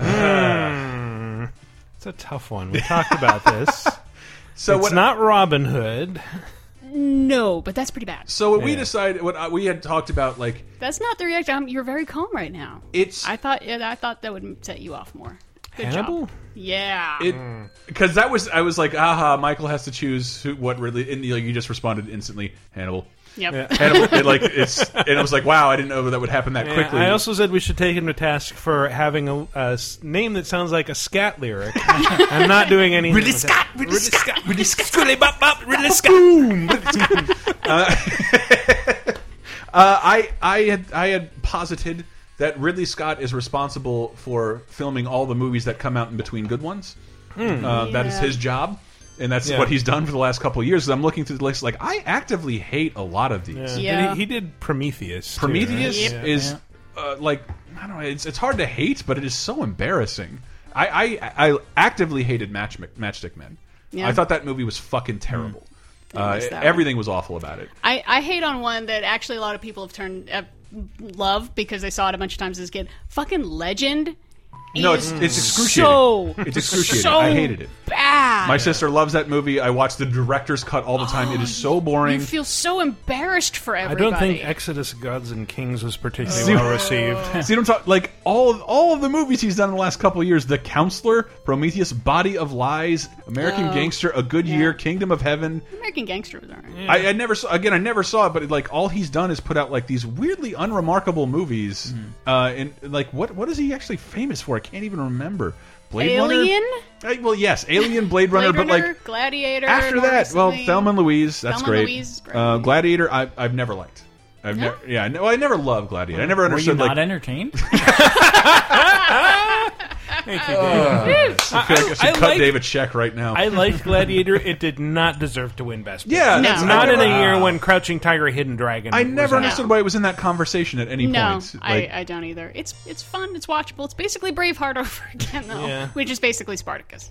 S5: it's a tough one. We talked about this.
S2: So
S5: it's
S2: what?
S5: not Robin Hood.
S3: No, but that's pretty bad.
S2: so what we
S5: Yeah.
S2: decided, what I, we had talked about, like
S3: That's not the reaction. I'm- You're very calm right now.
S2: it's
S3: I thought yeah, I thought that would set you off more. Good
S5: Hannibal?
S3: job. Yeah.
S2: It
S5: Hmm.
S2: because that was I was like, aha, Michael has to choose who, what Ridley, and like, you just responded instantly, Hannibal.
S3: yep.
S2: Hannibal, it, like it's, and I was like, wow, I didn't know that would happen that quickly.
S5: I also said we should take him to task for having a, a s- name that sounds like a scat lyric and not doing anything. Ridley Scott, Ridley Scott, Ridley Scott, Ridley Bop Bop, Ridley Scott.
S2: Uh, I I had I had posited that Ridley Scott is responsible for filming all the movies that come out in between good ones. Uh, That is
S3: Yeah.
S2: his job. and that's
S5: Hmm. Yeah.
S2: what he's done for the last couple of years. I'm looking through the list, like I actively hate a lot of these.
S3: Yeah.
S5: He, he did Prometheus. too,
S2: Prometheus
S5: right?
S3: Yep.
S2: is uh, like I don't know. It's, it's hard to hate, but it is so embarrassing. I I, I actively hated Match Matchstick Men.
S3: Yeah. Mm.
S2: I thought that movie was fucking terrible. Uh,
S3: missed that one.
S2: everything was awful about it.
S3: I, I hate on one that actually a lot of people have turned uh, love because they saw it a bunch of times as a kid. Fucking Legend.
S2: No,
S3: is
S2: it's it's excruciating.
S3: so
S2: it's excruciating.
S3: so
S2: I hated it.
S3: bad.
S2: My sister loves that movie. I watch the director's cut all the time. it
S3: (gasps)
S2: is so boring.
S3: you feel so embarrassed for
S5: I
S3: everybody.
S5: don't think Exodus: Gods and Kings was particularly
S3: (laughs)
S5: well received.
S2: See what I'm talking? Like all of, all of the movies he's done in the last couple of years: The Counselor, Prometheus, Body of Lies, American Gangster, A Good Year, Kingdom of Heaven.
S3: American Gangster was alright.
S2: I, I never saw again. I never saw it, but like all he's done is put out like these weirdly unremarkable movies.
S3: Mm-hmm.
S2: Uh, and like what what is he actually famous for? I can't even remember. Blade
S3: Alien?
S2: Runner. Uh, well, yes, Alien, Blade Runner,
S3: Blade
S2: but like.
S3: Gladiator.
S2: After
S3: more
S2: that, well,
S3: recently.
S2: Thelma and Louise, that's
S3: Thelma and
S2: great.
S3: Louise is great.
S2: Uh, Gladiator, I, I've never liked. I've
S3: No?
S2: never, yeah, I know- I never loved Gladiator. I never
S4: Were you
S2: understood
S4: not
S2: like
S4: entertained?
S5: (laughs)
S2: Oh. I feel like I should
S5: I
S2: cut
S5: like-
S2: David check right now.
S5: I liked Gladiator. It did not deserve to win Best. Picture.
S2: yeah,
S3: No.
S2: that's- I
S5: Not in
S2: never-
S5: a year when Crouching Tiger, Hidden Dragon.
S2: I
S5: was
S2: never
S5: out.
S2: understood why it was in that conversation at any
S3: No,
S2: point. Like,
S3: I, I don't either. It's it's fun. It's watchable. It's basically Braveheart (laughs) over again, though,
S5: Yeah.
S3: which is basically Spartacus.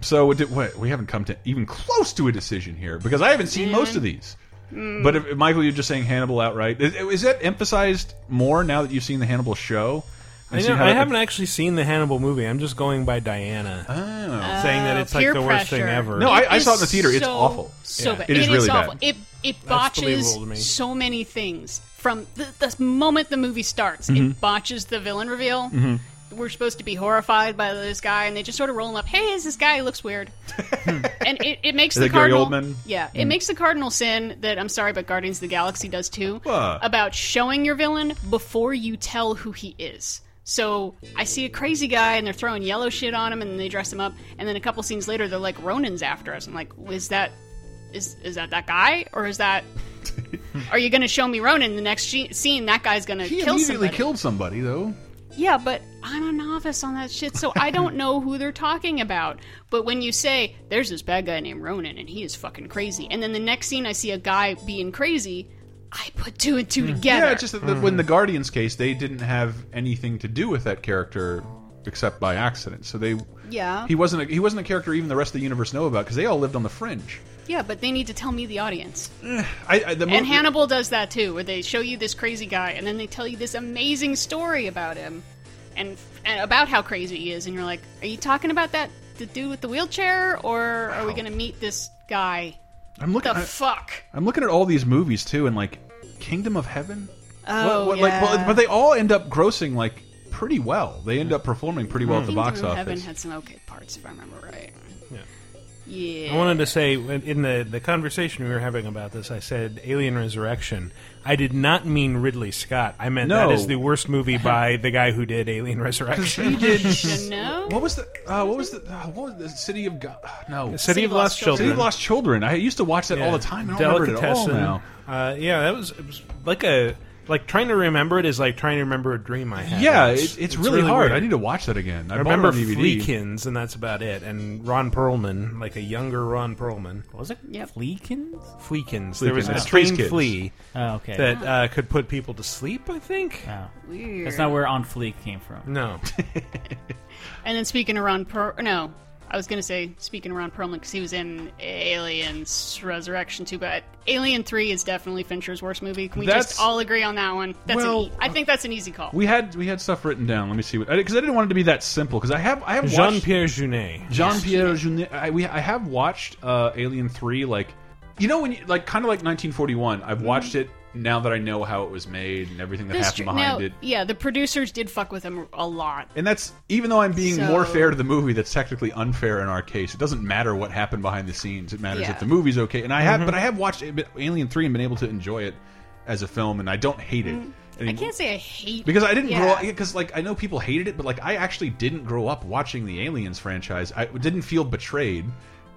S2: so it did, wait, we haven't come to even close to a decision here because I haven't seen most of these. But if, if, Michael, you're just saying Hannibal outright. Is, is that emphasized more now that you've seen the Hannibal show?
S5: I,
S2: And seen
S5: know-
S2: how
S5: I
S2: that- Oh.
S5: haven't actually seen the Hannibal movie. I'm just going by Diana saying that it's like
S3: Oh, Peer
S5: the worst thing
S3: pressure.
S5: ever.
S2: No, I-
S3: It is
S2: saw it in the theater. It's
S3: so,
S2: awful.
S3: So
S2: Yeah.
S3: bad.
S2: It is really
S3: awful.
S2: bad.
S3: It it
S5: believable to me.
S3: botches so many things from the, the moment the movie starts.
S2: Mm-hmm.
S3: It botches the villain reveal. We're supposed to be horrified by this guy, and they just sort of roll him up. Hey, is this guy? He looks weird, and it, it
S2: (laughs)
S3: makes
S2: Is
S3: the
S2: that Gary
S3: cardinal.
S2: Oldman? Hmm.
S3: Yeah, it makes the cardinal sin that I'm sorry, but Guardians of the Galaxy does too.
S2: What?
S3: About showing your villain before you tell who he is. So I see a crazy guy and they're throwing yellow shit on him and they dress him up and then a couple scenes later they're like Ronin's after us. I'm like, is that is is that that guy or
S2: (laughs)
S3: is that? Are you going to show me Ronin the next she- scene? That guy's going to
S2: He
S3: kill
S2: immediately
S3: somebody.
S2: killed somebody, though.
S3: Yeah, but I'm a novice on that shit, so I don't know who they're talking about. But when you say, there's this bad guy named Ronan and he is fucking crazy, and then the next scene I see a guy being crazy, I put two and two together.
S2: Hmm. Yeah, it's just that the,
S5: Mm-hmm.
S2: when the Guardians case, they didn't have anything to do with that character except by accident. So they,
S3: Yeah.
S2: he wasn't a, he wasn't a character even the rest of the universe know about because they all lived on the fringe. (sighs)
S3: Yeah, but they need to tell me the audience.
S2: I, I, the mo-
S3: And Hannibal does that too, where they show you this crazy guy and then they tell you this amazing story about him and, and about how crazy he is, and you're like, are you talking about that the dude with the wheelchair, or are we going to meet this guy?
S2: I'm looking.
S3: The
S2: I,
S3: fuck?
S2: I'm looking at all these movies too, and like Kingdom of Heaven.
S3: Oh,
S2: like,
S3: yeah.
S2: well, but they all end up grossing like pretty well. They end up performing pretty well at the
S3: Kingdom
S2: box
S3: of Heaven
S2: office.
S3: had some okay parts, if I remember right.
S5: Yeah.
S3: Yeah.
S5: I wanted to say in in the the conversation we were having about this, I said Alien Resurrection. I did not mean Ridley Scott. I meant
S2: No.
S5: that is the worst movie by the guy who
S2: (laughs)
S5: did Alien Resurrection.
S2: He
S3: (laughs)
S2: did.
S3: You know?
S2: What was the? Uh, what was the? Uh, what was the City of God? (sighs) No, City,
S5: City of Lost Children.
S2: of Lost Children. I used to watch that all the time. I don't remember it at all
S5: Delicatessen.
S2: now.
S5: Uh, yeah, that was, it was like a like trying to remember it is like trying to remember a dream I had.
S2: Yeah, it's, it's, really, hard.
S5: weird.
S2: I need to watch that again. I,
S5: I
S2: bought it
S5: remember
S2: on DVD.
S5: Fleekins, and that's about it. And Ron Perlman, like a younger Ron Perlman.
S4: Was it
S3: Yep.
S4: Fleekins?
S5: Fleekins. There was
S2: Fleekins.
S5: a
S2: Yeah.
S5: trained
S2: Space Kids.
S5: flea
S4: Oh, okay.
S5: that uh, could put people to sleep. I think.
S4: Oh.
S3: Weird.
S4: That's not where on fleek came from.
S2: (laughs)
S5: No.
S3: And then speaking of Ron Per, no, I was gonna say speaking of Ron Perlman because he was in Aliens Resurrection too, but Alien Three is definitely Fincher's worst movie. Can we
S2: That's-
S3: just all agree on that one? That's an
S2: Well,
S3: e- I think that's an easy call.
S2: We had we had stuff written down. Let me see what because I, didn't want it to be that simple. Because I have I have
S5: Jean
S2: watched-
S5: Pierre Junet.
S2: Jean Pierre Jeunet. I, we, I have watched uh, Alien Three. Like you know when you, like kind of like 1941.
S3: Mm-hmm.
S2: I've watched it now that I know how it was made and everything that
S3: This
S2: happened
S3: tr-
S2: behind
S3: now,
S2: it.
S3: yeah, the producers did fuck with him a lot.
S2: And that's even though I'm being
S3: So-
S2: more fair to the movie, that's technically unfair in our case. It doesn't matter what happened behind the scenes; it matters
S3: Yeah. Mm-hmm.
S2: that the movie's okay. And I have, but I have watched A- Alien Three and been able to enjoy it as a film, and I don't hate it.
S3: Mm-hmm. I
S2: anymore.
S3: can't say I hate
S2: because I didn't
S3: yeah.
S2: grow up. Because like I know people hated it, but like I actually didn't grow up watching the Aliens franchise. I didn't feel betrayed.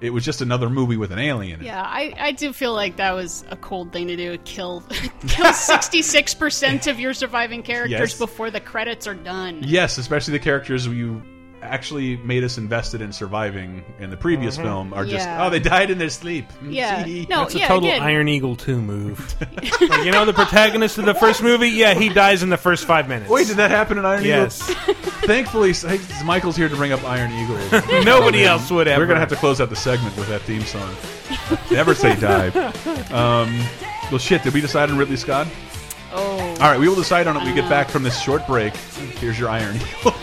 S2: It was just another movie with an alien. in it.
S3: Yeah, I, I do feel like that was a cold thing to do. Kill (laughs) kill sixty six percent of your surviving characters
S2: Yes.
S3: before the credits are done.
S2: Yes, especially the characters you
S8: actually made us invested in surviving in the previous film are just
S3: Yeah.
S8: oh they died in their
S2: (laughs)
S8: sleep.
S3: Yeah.
S8: Tee-hee.
S3: No,
S5: That's a
S3: yeah,
S5: total
S3: again,
S5: Iron Eagle 2 move. Like, you know, the protagonist of the first movie? Yeah, he dies in the first five minutes.
S8: Wait, did that happen in Iron
S5: Yes.
S8: Eagle? Thankfully, s- Michael's here to bring up Iron Eagle.
S5: (laughs) Nobody else would ever.
S8: We're gonna have to close out the segment with that theme song. Never say die. Um, well, shit. Did we decide on Ridley Scott?
S3: Oh.
S8: All right, we will decide on it when we get back from this short break. Here's your Iron Eagle.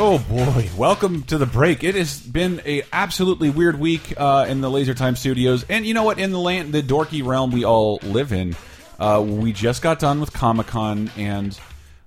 S2: Oh boy! Welcome to the break. It has been a absolutely weird week uh, in the Laser Time Studios, and you know what? In the land, the dorky realm we all live in, uh, we just got done with Comic Con, and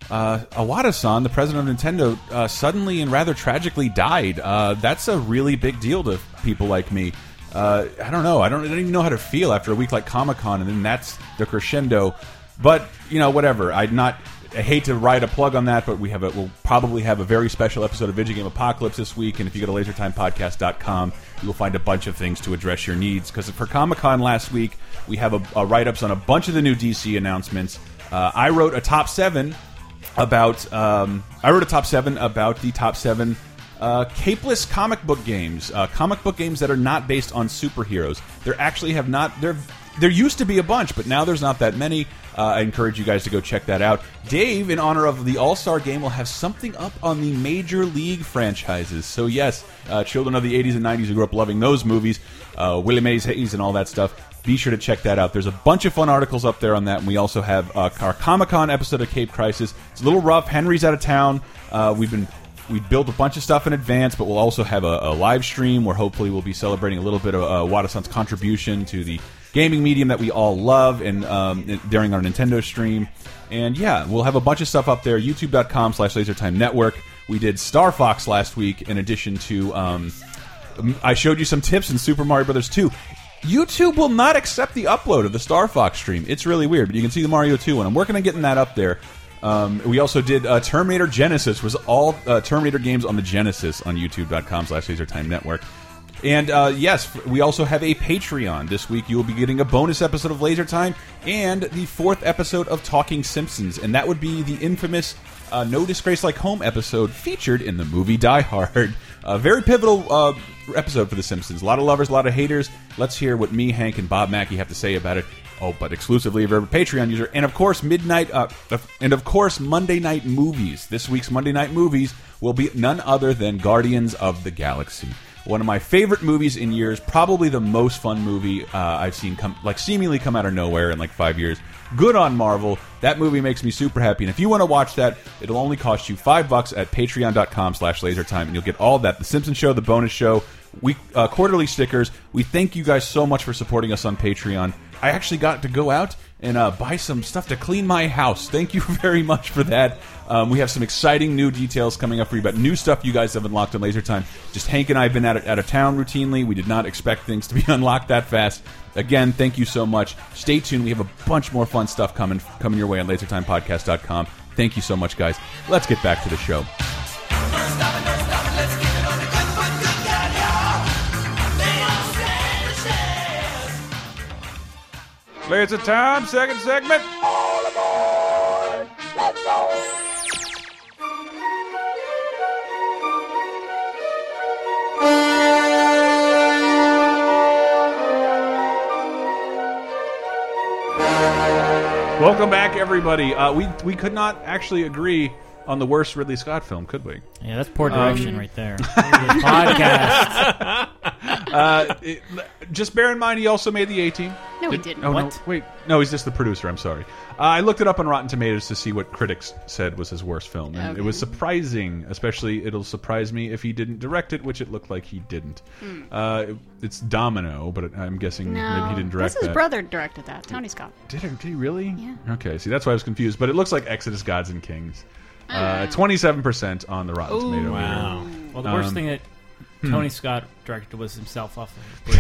S2: uh, Awada-san, the president of Nintendo, uh, suddenly and rather tragically died. Uh, that's a really big deal to people like me. Uh, I don't know. I don't, I don't even know how to feel after a week like Comic Con, and then that's the crescendo. But you know, whatever. I'd not. I hate to ride a plug on that, but we have a, we'll probably have a very special episode of Video Game Apocalypse this week. And if you go to lasertimepodcast.com, you will find a bunch of things to address your needs. Because for Comic Con last week, we have a, a write ups on a bunch of the new DC announcements. Uh, I wrote a top seven about um, I wrote a top seven about the top seven uh, capeless comic book games, uh, comic book games that are not based on superheroes. There actually have not there there used to be a bunch, but now there's not that many. Uh, I encourage you guys to go check that out. Dave, in honor of the All Star Game, will have something up on the Major League franchises. So yes, uh, children of the '80s and '90s who grew up loving those movies, uh, Willie Mays Hayes and all that stuff be sure to check that out. There's a bunch of fun articles up there on that. And we also have uh, our Comic Con episode of Cape Crisis. It's a little rough. Henry's out of town. Uh, we've been we built a bunch of stuff in advance, but we'll also have a, a live stream where hopefully we'll be celebrating a little bit of uh, Wadasan's contribution to the gaming medium that we all love, and um, during our Nintendo stream. And yeah, we'll have a bunch of stuff up there. YouTube.com slash LaserTime Network. We did Star Fox last week, in addition to. Um, I showed you some tips in Super Mario Brothers 2. YouTube will not accept the upload of the Star Fox stream. It's really weird, but you can see the Mario 2 one. I'm working on getting that up there. Um, we also did uh, Terminator Genesis, was all uh, Terminator games on the Genesis on youtube.com slash lasertime network. And uh, yes, we also have a Patreon. This week you will be getting a bonus episode of Laser Time and the fourth episode of Talking Simpsons. And that would be the infamous uh, No Disgrace Like Home episode featured in the movie Die Hard. (laughs) A very pivotal uh, episode for The Simpsons. A lot of lovers, a lot of haters. Let's hear what me, Hank, and Bob Mackey have to say about it. Oh, but exclusively for a Patreon user. And of course, midnight. Uh, and of course, Monday night movies. This week's Monday night movies will be none other than Guardians of the Galaxy one of my favorite movies in years, probably the most fun movie uh, I've seen come like seemingly come out of nowhere in like five years. Good on Marvel. That movie makes me super happy. And if you want to watch that, it'll only cost you five bucks at patreon.com slash lasertime and you'll get all that. The Simpsons show, the bonus show, week uh, quarterly stickers. We thank you guys so much for supporting us on Patreon. I actually got to go out and uh, buy some stuff to clean my house. Thank you (laughs) very much for that. Um, we have some exciting new details coming up for you about new stuff you guys have unlocked in Laser Time. Just Hank and I have been out of, out of town routinely. We did not expect things to be (laughs) unlocked that fast. Again, thank you so much. Stay tuned. We have a bunch more fun stuff coming coming your way on LaserTimePodcast.com. Thank you so much, guys. Let's get back to the show.
S8: Laser time, second segment. Welcome back, everybody. Uh, we we could not actually agree on the worst Ridley Scott film, could we?
S4: Yeah, that's poor direction right there. Um, (laughs) Podcast.
S8: Uh, it- just bear in mind, he also made the A Team.
S3: No, he didn't.
S8: Oh,
S3: What?
S8: No, wait, no, he's just the producer. I'm sorry. Uh, I looked it up on Rotten Tomatoes to see what critics said was his worst film, and it
S3: Okay.
S8: was surprising. Especially, it'll surprise me if he didn't direct it, which it looked like he didn't.
S3: Hmm.
S8: Uh, it- it's Domino, but I'm guessing maybe he didn't direct
S3: This is
S8: that.
S3: brother directed that. Tony Scott.
S8: Did, it, did he really?
S3: Yeah.
S8: Okay, see, that's why I was confused. But it looks like Exodus: Gods and Uh, Kings. Twenty-seven percent on the Rotten Tomato. meter.
S4: Well, the worst
S8: Um,
S4: thing that Tony Scott directed was himself off of the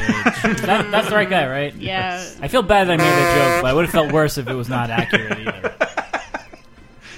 S4: bridge. (laughs) that, that's the right guy, right?
S3: Yeah.
S4: I feel bad that I made that joke, but I would have felt worse if it was not accurate either.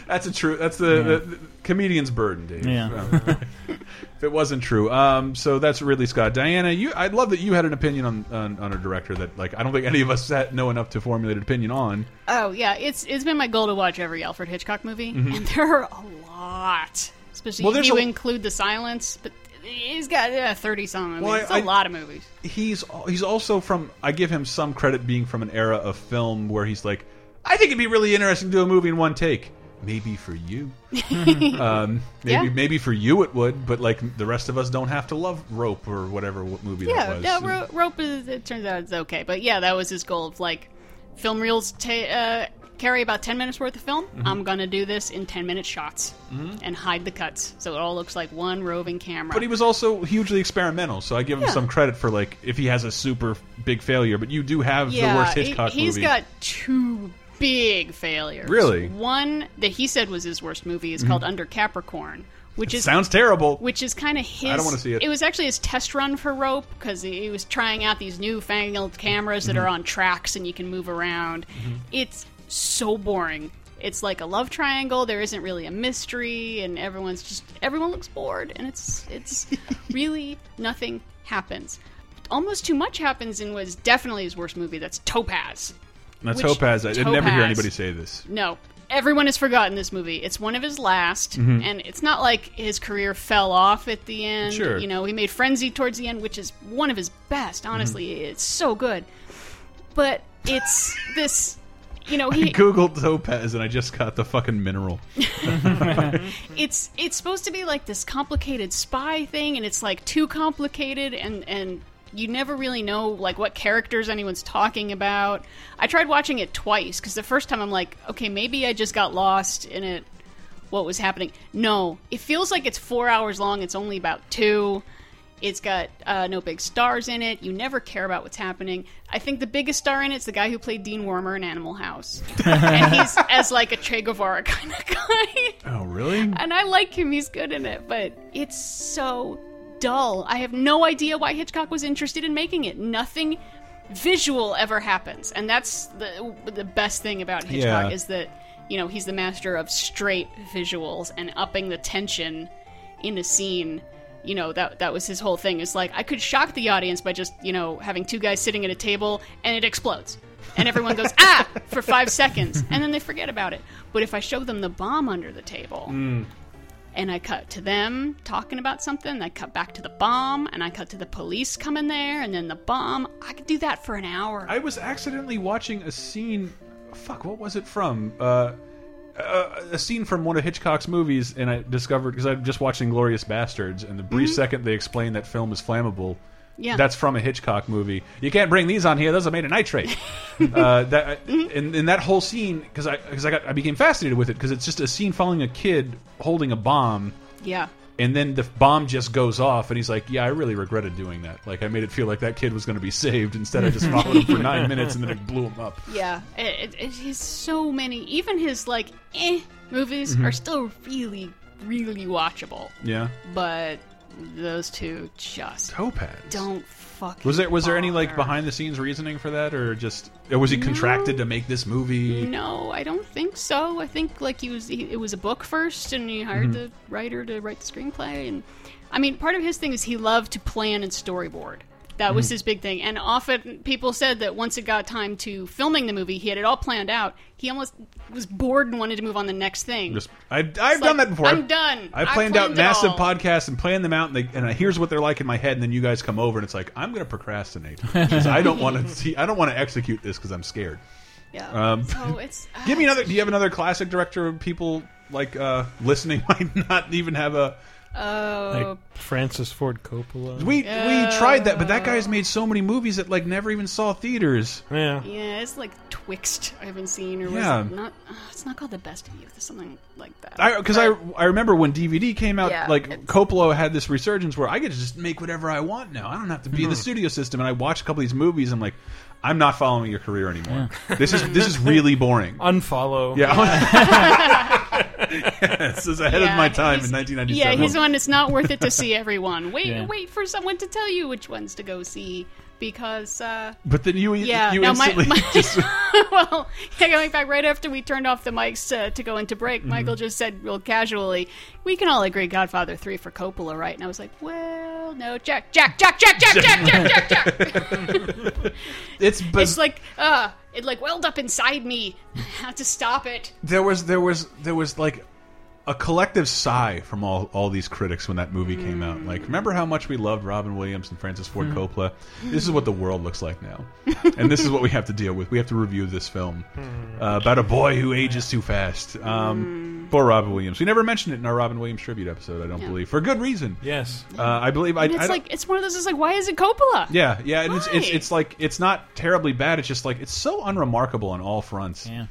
S2: That's a true. That's the, the, the comedian's burden, Dave.
S4: Yeah.
S2: Um, (laughs) if it wasn't true, um, so that's Ridley Scott. Diana, you, I love that you had an opinion on, on on a director that like I don't think any of us sat, know enough to formulate an opinion on.
S3: Oh yeah, it's it's been my goal to watch every Alfred Hitchcock movie, and there are a lot. Especially
S2: Well,
S3: if
S2: there's
S3: you
S2: a-
S3: include the silence, but he's got thirty some.
S2: Well, I-
S3: movies. It's a
S2: I-
S3: lot of movies.
S2: He's he's also from. I give him some credit being from an era of film where he's like, I think it'd be really interesting to do a movie in one take. Maybe for
S3: (laughs)
S2: you, um, maybe
S3: Yeah.
S2: maybe for you it would, but like the rest of us don't have to love Rope or whatever what movie that
S3: Yeah,
S2: was.
S3: yeah ro- rope is. It turns out it's okay, but yeah, that was his goal of like, film reels ta uh, carry about ten minutes worth of film.
S2: Mm-hmm.
S3: I'm gonna do this in ten minute shots and hide the cuts, so it all looks like one roving camera.
S2: But he was also hugely experimental, so I give him
S3: Yeah.
S2: some credit for like if he has a super big failure. But you do have
S3: yeah,
S2: the worst Hitchcock
S3: he, has
S2: movie.
S3: got two big failures.
S2: Really? Mm-hmm.
S3: One that he said was his worst movie is called Under Capricorn, which is
S2: Sounds terrible.
S3: which is kind of his.
S2: don't wanna see it.
S3: It was actually his test run for rope because he he was trying out these newfangled cameras that are
S2: Mm-hmm.
S3: on tracks and you can move around. It's so boring. It's like a love triangle. There isn't really a mystery, and everyone's just everyone looks bored, and it's
S2: (laughs)
S3: it's really nothing happens. Almost too much happens in what is definitely his worst movie. That's Topaz.
S2: That's
S3: which-
S2: Topaz. I I never hear
S3: Topaz.
S2: anybody say this.
S3: No. Everyone has forgotten this movie. It's one of his last, and it's not like his career fell off at the end.
S2: Sure.
S3: You know, he made Frenzy towards the end, which is one of his best, honestly. It's so good. But it's this, you know, he
S2: Googled Topaz and I just got the fucking mineral.
S3: it's it's supposed to be like this complicated spy thing and it's like too complicated and and you never really know like what characters anyone's talking about i tried watching it twice because the first time i'm like okay maybe i just got lost in it what was happening no it feels like it's four hours long it's only about two it's got uh, no big stars in it. You never care about what's happening. I think the biggest star in it's the guy who played Dean Warmer in Animal House, and he's as like a Che Guevara kind of guy
S2: Oh really?
S3: and I like him. He's good in it, but it's so dull. I have no idea why Hitchcock was interested in making it. Nothing visual ever happens, and that's the the best thing about Hitchcock
S2: Yeah.
S3: is that you know he's the master of straight visuals and upping the tension in a scene. You know that that was his whole thing. It's like I could shock the audience by just you know having two guys sitting at a table and it explodes. And everyone goes ah for five seconds, and then they forget about it. But if I show them the bomb under the table, and I cut to them talking about something. I cut back to the bomb, and I cut to the police coming there, and then the bomb. I could do that for an hour.
S2: I was accidentally watching a scene. Fuck, what was it from? Uh, uh, a scene from one of Hitchcock's movies, and I discovered because I'm just watching *Glorious Bastards*, and the brief second they explain that film is flammable,
S3: Yeah.
S2: that's from a Hitchcock movie. You can't bring these on here; those are made of nitrate. uh, that and, and that whole scene because I because I got I became fascinated with it because it's just a scene following a kid holding a bomb.
S3: yeah,
S2: And then the bomb just goes off, and he's like, "Yeah, I really regretted doing that. Like, I made it feel like that kid was going to be saved. Instead, I just followed him for nine minutes, and then it blew him up."
S3: yeah. It, it, it, he's so many. Even his like eh movies are still really, really watchable.
S2: Yeah,
S3: But those two just
S2: Topaz.
S3: don't fucking.
S2: Was there was there any like
S3: bother.
S2: behind the scenes reasoning for that, or just or was he contracted to make this movie?
S3: No, I don't think so. I think like he was he, it was a book first, and he
S2: Mm-hmm.
S3: hired the writer to write the screenplay. And I mean, part of his thing is he loved to plan and storyboard. That
S2: Mm-hmm.
S3: was his big thing. And often people said that once it got time to filming the movie, he had it all planned out. He almost was bored and wanted to move on the next thing.
S2: Just I I've done
S3: like,
S2: that before.
S3: I'm done.
S2: I
S3: I
S2: planned, out
S3: planned it
S2: massive
S3: all.
S2: podcasts and planned them out, and, they, and I, here's what they're like in my head. And then you guys come over, and it's like I'm going to procrastinate 'Cause I don't want to see. I don't want to execute this because I'm scared.
S3: yeah.
S2: um,
S3: so it's
S2: (laughs)
S3: uh,
S2: Give me another. Do you have another classic director? People like uh, listening (laughs) might not even have a.
S3: Oh,
S5: Like Francis Ford Coppola.
S2: We we tried that, but that guy's made so many movies that like never even saw theaters.
S5: yeah.
S3: yeah. It's like Twixt. I haven't seen or was
S2: Yeah.
S3: it not. Uh, it's not called the best of you. It's something like that.
S2: I because I I remember when DVD came out,
S3: Yeah,
S2: like
S3: it's-
S2: Coppola had this resurgence where I get to just make whatever I want now. I don't have to be in the studio system. And I watch a couple of these movies. I'm like, I'm not following your career anymore. This is this is really
S5: (laughs)
S2: boring.
S5: Unfollow.
S2: Yeah. (laughs) this is ahead of
S3: Yeah,
S2: my time
S3: he's-
S2: in 1997.
S3: Yeah, he's the one that's not worth it
S2: (laughs)
S3: to see everyone. Wait,
S4: Yeah.
S3: wait for someone to tell you which ones to go see because uh, (laughs)
S2: But then you,
S3: yeah.
S2: you
S3: now my,
S2: instantly
S3: my
S2: (laughs) just
S3: well, yeah, going back right after we turned off the mics uh, to go into break,
S2: Mm-hmm.
S3: Michael just said real casually, "We can all agree Godfather three for Coppola, right?" And I was like, "Well, no, Jack, Jack, Jack, Jack, Jack, Jack, Jack,
S2: (laughs)
S3: Jack, Jack."
S2: it's, biz-
S3: (laughs) It's like uh, it like welled up inside me. I had to stop it.
S2: there was there was there was like a collective sigh from all all these critics when that movie came out. Like,
S3: Mm.
S2: remember how much we loved Robin Williams and Francis Ford Coppola? This is what the world looks like now, and this is what we have to deal with. We have to review this
S3: (laughs)
S2: film
S3: Mm.
S2: uh, about a boy who ages too fast. Um, Poor Robin Williams. We never mentioned it in our Robin Williams tribute episode. I don't believe for good reason.
S5: Yes.
S2: uh, I believe. I,
S3: And
S2: I
S3: it's
S2: don't-
S3: like it's one of those. It's like why is it Coppola?
S2: Yeah, yeah, and it's, it's
S3: Why?
S2: it's like it's not terribly bad. It's just like it's so unremarkable on all fronts.
S4: Yeah.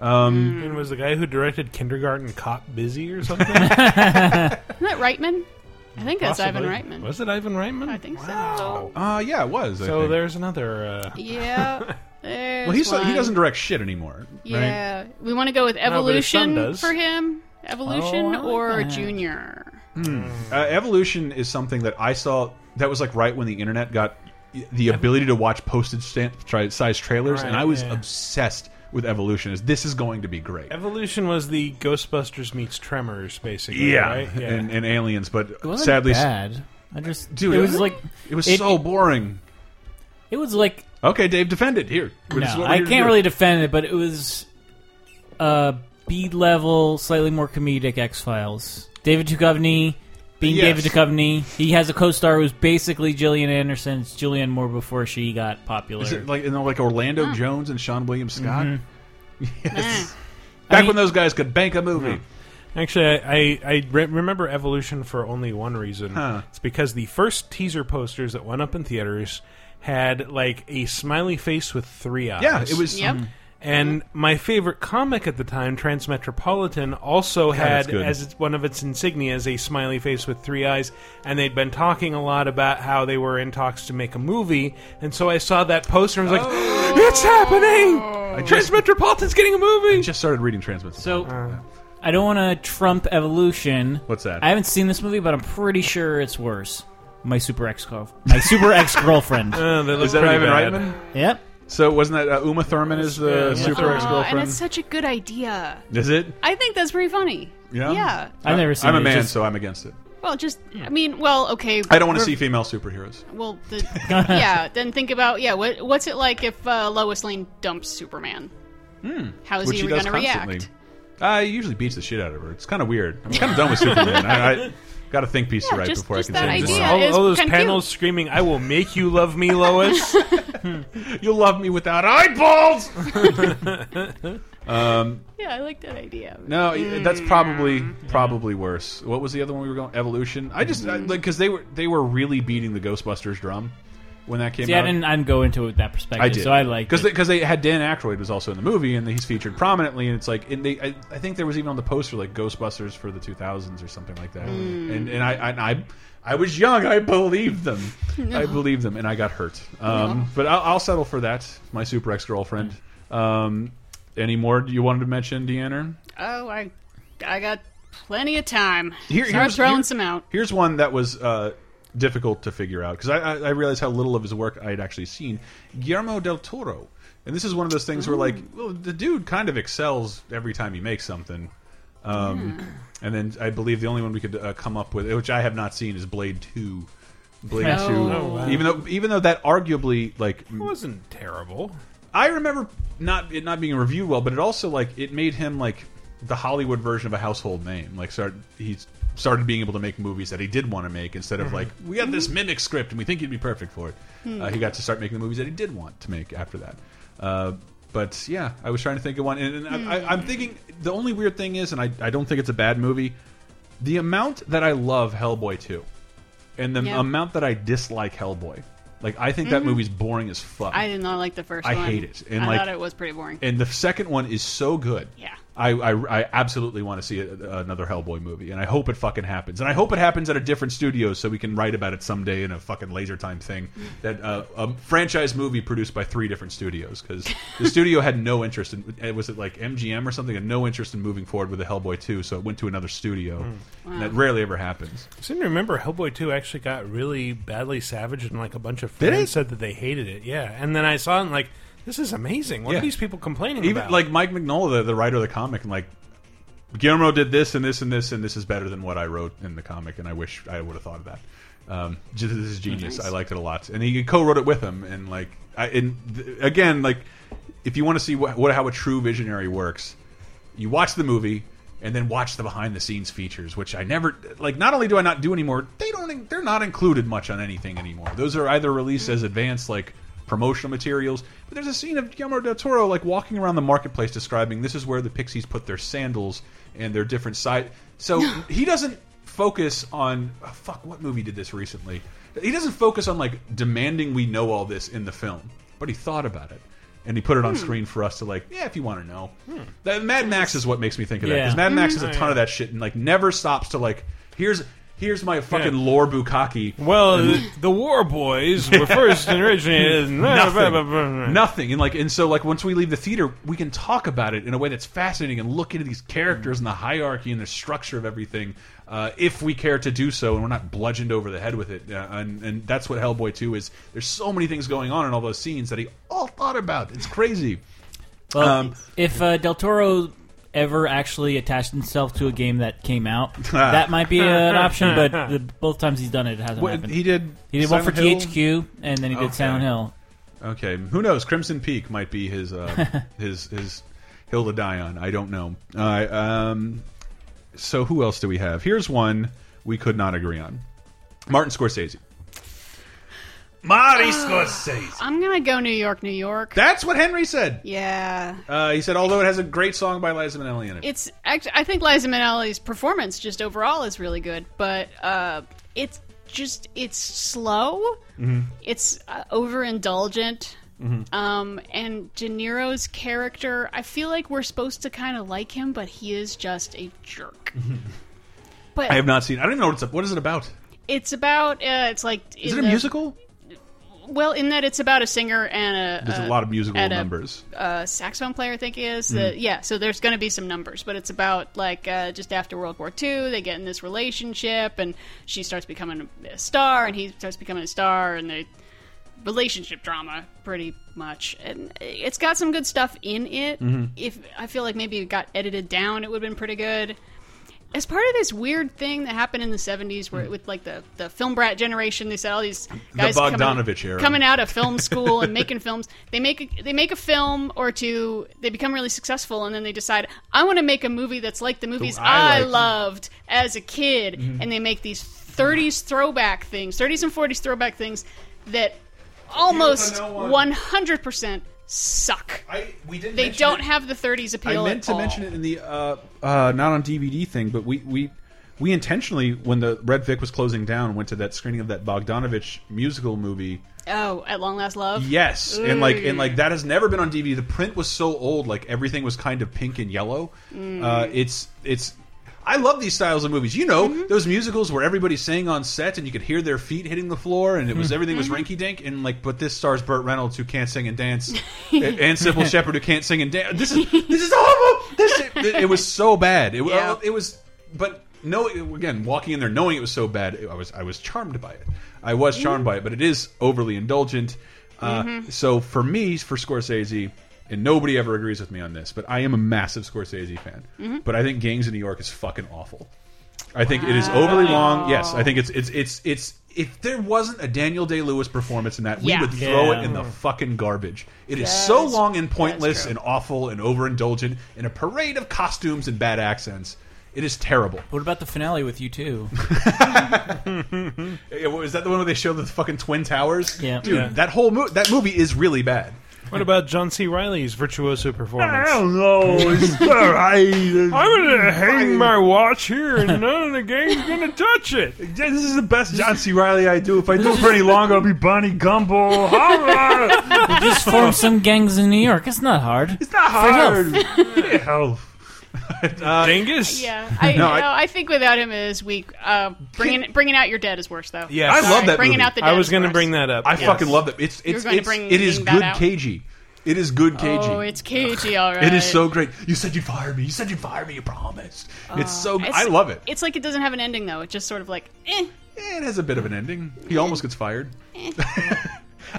S5: And was the guy who directed Kindergarten Cop busy
S3: (laughs)
S5: or something?
S3: Isn't that Reitman? I think that's
S5: Possibly.
S3: Ivan Reitman.
S5: Was it Ivan Reitman?
S3: I think so.
S2: Uh, yeah, it was. I
S5: So
S2: think.
S5: there's another. Uh,
S2: (laughs)
S3: Yeah.
S2: Well, he's
S3: one.
S2: he doesn't direct shit anymore. Right?
S3: Yeah, we want to go with
S5: but his son
S3: evolution
S5: does.
S3: for him. Evolution
S4: Oh, I like
S3: or
S4: that.
S3: junior.
S2: Uh, Evolution is something that I saw. That was like right when the internet got the ability to watch postage stamp tri- size trailers, and
S5: Right,
S2: I was
S5: yeah.
S2: obsessed with Evolution. Is this is going to be great?
S5: Evolution was the Ghostbusters meets Tremors, basically.
S2: (laughs)
S5: Right?
S2: And, and aliens, but
S4: It wasn't
S2: sadly,
S4: bad. I just
S2: Dude,
S4: it was
S2: it-
S4: like
S2: it was
S4: It-
S2: so boring.
S4: it was like
S2: Okay, Dave, defend it here. which is what
S4: no,
S2: we're
S4: I
S2: here to
S4: can't
S2: do.
S4: really defend it, but it was uh, B level, slightly more comedic X Files. David Duchovny being
S2: Yes.
S4: David Duchovny, he has a co-star who's basically Gillian Anderson. It's Gillian Moore before she got popular.
S2: Is it like you know, like Orlando Jones and Sean William Scott? (laughs) Yes. Back
S4: Mm-hmm. mean-
S2: when those guys could bank a movie.
S5: Actually, I, I, I re- remember Evolution for only one reason.
S2: Huh.
S5: It's because the first teaser posters that went up in theaters had like a smiley face with three eyes.
S2: Yeah, it was.
S3: Yep.
S5: And my favorite comic at the time, Transmetropolitan, also
S2: that's
S5: had
S2: good.
S5: as its, one of its insignias a smiley face with three eyes, and they'd been talking a lot about how they were in talks to make a movie, and so I saw that poster and was like, "It's happening!
S2: just-
S5: Transmetropolitan's getting a movie!"
S2: I just started reading Transmits.
S4: so Uh, I don't want to trump Evolution.
S2: What's that?
S4: I haven't seen this movie, but I'm pretty sure it's worse. My super ex my super ex
S2: (laughs)
S4: girlfriend.
S5: Uh, they
S2: is
S5: look
S2: that
S5: pretty
S2: Ivan
S5: bad.
S2: Reitman?
S4: yep.
S2: So wasn't that uh, Uma Thurman is the
S5: Yeah, Uma
S2: super
S5: Thurman.
S2: ex
S3: Oh, and
S2: girlfriend?
S3: it's such a good idea.
S2: Is it?
S3: I think that's pretty funny.
S2: Yeah?
S3: Yeah.
S4: I've never seen.
S2: I'm
S4: it.
S2: a man,
S4: Just-
S2: so I'm against it.
S3: Well, just I mean, well, okay.
S2: I don't want to
S3: we're-
S2: see female superheroes.
S3: Well,
S2: (laughs)
S3: the, yeah. Then think about yeah. What what's it like if uh, Lois Lane dumps Superman? How is
S2: Hmm. Which
S3: he
S2: she
S3: going
S2: does
S3: to
S2: constantly.
S3: react?
S2: I Uh, usually beats the shit out of her. It's kind of weird. I'm kind of done with Superman. I, I got to think piece
S3: Yeah,
S2: right
S3: just-
S2: before
S3: just
S2: I
S3: that
S2: can say
S3: idea.
S2: anything.
S3: Yeah,
S5: all,
S3: it's
S5: all those
S3: kinda
S5: panels
S3: cute.
S5: screaming, "I will make you love
S2: (laughs)
S5: me, Lois."
S2: You'll love me without eyeballs.
S3: Yeah, I like that idea.
S2: No, that's probably probably worse. What was the other one we were going? Evolution. I just I, like because they were they were really beating the Ghostbusters drum when that came
S4: See, I
S2: out.
S4: didn't. I didn't go into it with that perspective.
S2: I did.
S4: So I like
S2: because because they, had Dan Aykroyd was also in the movie and he's featured prominently and it's like and they I, I think there was even on the poster like Ghostbusters for the 2000s or something like that and and I and I I was young I believed them I believed them and I got hurt um, but I'll, I'll settle for that my super ex girlfriend um, any more you wanted to mention Deanna
S3: Oh, I I got plenty of time.
S2: Here-
S3: Start
S2: here's-
S3: throwing
S2: here-
S3: some out.
S2: Here's one that was uh, difficult to figure out because I, I, I realized how little of his work I had actually seen. Guillermo del Toro, and this is one of those things where like, well, the dude kind of excels every time he makes something. Um, And then I believe the only one we could uh, come up with, which I have not seen, is Blade Two. Blade
S4: Oh.
S2: Two,
S5: Oh, wow.
S2: even though even though that arguably like
S5: it wasn't terrible.
S2: I remember not it not being reviewed well, but it also like it made him like the Hollywood version of a household name. Like start he started being able to make movies that he did want to make instead
S3: Mm-hmm.
S2: of like we got this mimic script and we think you'd be perfect for it.
S3: Hmm.
S2: Uh, he got to start making the movies that he did want to make after that. Uh, but yeah, I was trying to think of one, and, and I,
S3: Hmm.
S2: I, I'm thinking the only weird thing is, and I, I don't think it's a bad movie. The amount that I love Hellboy 2 and the
S3: Yeah. Mm-hmm.
S2: amount that I dislike Hellboy. Like I think that movie's boring as fuck.
S3: I did not like the first
S2: I
S3: one.
S2: hate it, and,
S3: I
S2: like-
S3: thought it was pretty boring.
S2: And the second one is so good.
S3: Yeah.
S2: I, I, I absolutely want to see a, another Hellboy movie, and I hope it fucking happens. And I hope it happens at a different studio so we can write about it someday in a fucking laser time thing.
S3: Mm.
S2: That uh, a franchise movie produced by three different studios because the studio had no interest in it was it like MGM or something had no interest in moving forward with the Hellboy two, so it went to another studio.
S3: Mm.
S2: And that rarely ever happens.
S5: I seem to remember Hellboy 2 actually got really badly savage, and like a bunch of
S2: it?
S5: friends said that they hated it. Yeah, and then I saw it and like, this is amazing. What
S2: Yeah.
S5: are these people complaining
S2: Even
S5: about?
S2: like Mike Mignola, the, the writer of the comic, and like Guillermo did this and this and this and this is better than what I wrote in the comic, and I wish I would have thought of that. Um, (laughs) j- this is genius. I liked it a lot, and he co-wrote it with him. And like, I, and th again, like, if you want to see what, what how a true visionary works, you watch the movie and then watch the behind the scenes features which i never like not only do i not do anymore they don't they're not included much on anything anymore those are either
S5: Hmm.
S2: released as advanced like promotional materials but there's a scene of guillermo del toro like walking around the marketplace describing this is where the pixies put their sandals and their different side so he doesn't focus on oh, fuck what movie did this recently he doesn't focus on like demanding we know all this in the film but he thought about it and he put it on screen for us to like, yeah, if you want to know. That Mad Max is what makes me think of that
S4: Yeah.
S2: because Mad Max is a ton of that shit and like never stops to like, here's here's my fucking lore bukkake. (laughs)
S5: well, the, the War Boys were first and
S2: (laughs)
S5: originated.
S2: Nothing. Nothing. And like and so like once we leave the theater, we can talk about it in a way that's fascinating and look into these characters and the hierarchy and the structure of everything, uh, if we care to do so, and we're not bludgeoned over the head with it. Uh, and, and that's what Hellboy Two is. There's so many things going on in all those scenes that he all thought about. It's crazy.
S4: Well,
S2: Um,
S4: if uh, Del Toro ever actually attached himself to a game that
S2: (laughs)
S4: came out,
S2: Ah.
S4: that might be (laughs) an option. But the, both times he's done it, it hasn't
S2: What-
S4: happened.
S2: he did.
S4: He did one for
S2: Silent Hill.
S4: THQ, and then he did
S2: Okay.
S4: Silent Hill.
S2: Okay, who knows? Crimson Peak might be his uh, his his hill to die on. I don't know. All right. Um, so who else do we have? Here's one we could not agree on: Martin Scorsese. Marty
S3: Ah.
S2: Scorsese.
S3: I'm gonna go New York, New York.
S2: That's what Henry said.
S3: yeah,
S2: Uh, he said, although it has a great song by Liza Minnelli in it.
S3: it's. Act- I think Liza Minnelli's performance just overall is really good, but uh, it's just it's slow.
S2: Mm-hmm.
S3: It's uh, overindulgent. Um, and De Niro's character, I feel like we're supposed to kind of like him, but he is just a jerk. But
S2: Mm-hmm. I have not seen. I don't even know what it's. What is it about?
S3: it's about uh, it's like
S2: Is
S3: in
S2: it a
S3: the-
S2: musical?
S3: Well, in that it's about a singer and a
S2: There's a lot of musical
S3: at a-
S2: numbers.
S3: uh, saxophone player, I think
S2: Mm-hmm.
S3: is. Uh, yeah, so there's going to be some numbers, but it's about like uh, just after World War II, they get in this relationship, and she starts becoming a star, and he starts becoming a star, and they relationship drama pretty much. And it's got some good stuff in it.
S2: Mm-hmm.
S3: If I feel like maybe it got edited down, it would have been pretty good. As part of this weird thing that happened in the '70s,
S2: Mm.
S3: where with like the, the film brat generation, they said all these guys
S2: Bogdanovich
S3: coming,
S2: era.
S3: coming out of film school and making films. They make a, they make a film or two. They become really successful, and then they decide, I want to make a movie that's like the movies
S2: I Mm-hmm.
S3: I,
S2: liked."
S3: loved as a kid, and they make these '30s throwback things, '30s and '40s throwback things that almost
S2: no one.
S3: 100% suck.
S2: I, we didn't
S3: They don't have the 30s appeal.
S2: I meant
S3: at
S2: to
S3: all.
S2: mention it in the uh, uh, not on DVD thing, but we we we intentionally when the Red Vic was closing down went to that screening of that Bogdanovich musical movie.
S3: Oh, at long last, love.
S2: Yes, and like and like that has never been on DVD. The print was so old, like everything was kind of pink and yellow. Uh, it's it's. I love these styles of movies. You know those musicals where everybody sang on set and you could hear their feet hitting the floor, and it was everything was rinky dink. And like, but this stars Burt Reynolds who can't sing and dance, and, and Sybil Shepherd who can't sing and dance. This is this is horrible. This it, it was so bad. It, uh,
S3: Yeah.
S2: it was, but no. Again, walking in there knowing it was so bad, I was I was charmed by it. I was charmed by it, but it is overly indulgent. Uh, So for me, for Scorsese, and nobody ever agrees with me on this, but I am a massive Scorsese fan. But I think Gangs in New York is fucking awful. I think it is overly long. Yes, I think it's it's it's it's if there wasn't a Daniel Day Lewis performance in that,
S3: Yeah.
S2: we would throw
S4: Yeah.
S2: it in the fucking garbage. It is so long and pointless
S3: true.
S2: and awful and overindulgent in a parade of costumes and bad accents. It is terrible.
S4: What about the finale with you (laughs) two?
S2: Eh, what- Is that the one where they show the fucking twin towers?
S4: Yeah.
S2: dude,
S4: Yeah.
S2: that whole mo that movie is really bad.
S5: What about John C. Riley's virtuoso performance?
S2: know.
S5: I'm gonna hang my watch here, and none of the gang's gonna touch
S2: (laughs)
S5: it.
S2: this is the best John C. Riley I do. If I do it
S5: Pretty long, I'll be Bonnie Gumble.
S4: Just form some gangs in New York. It's not hard.
S2: It's not hard. Health.
S5: Uh,
S2: uh, (laughs)
S5: Genghis?
S3: Yeah, I,
S2: No,
S3: no,
S2: I-
S3: I, think without him is weak. Uh, bringing bringing out your dead is worse though.
S2: Yes. I
S3: Sorry,
S2: love that
S3: Bringing
S2: movie.
S3: out the dead
S5: I was
S3: going to
S5: bring that up.
S2: I
S5: Yes.
S2: fucking love that. It's
S3: were
S2: it's,
S3: gonna
S2: it's
S3: bring
S2: it is
S3: that
S2: good
S3: out?
S2: cagey. It is good cagey.
S3: Oh, it's cagey, all right.
S2: It is so great. You said you'd fire me. You said you'd fire me. You promised. it's so.
S3: It's-
S2: I love it.
S3: It's like it doesn't have an ending though. It just sort of like, eh.
S2: Eh, It has a bit of an ending. He almost gets fired. (laughs)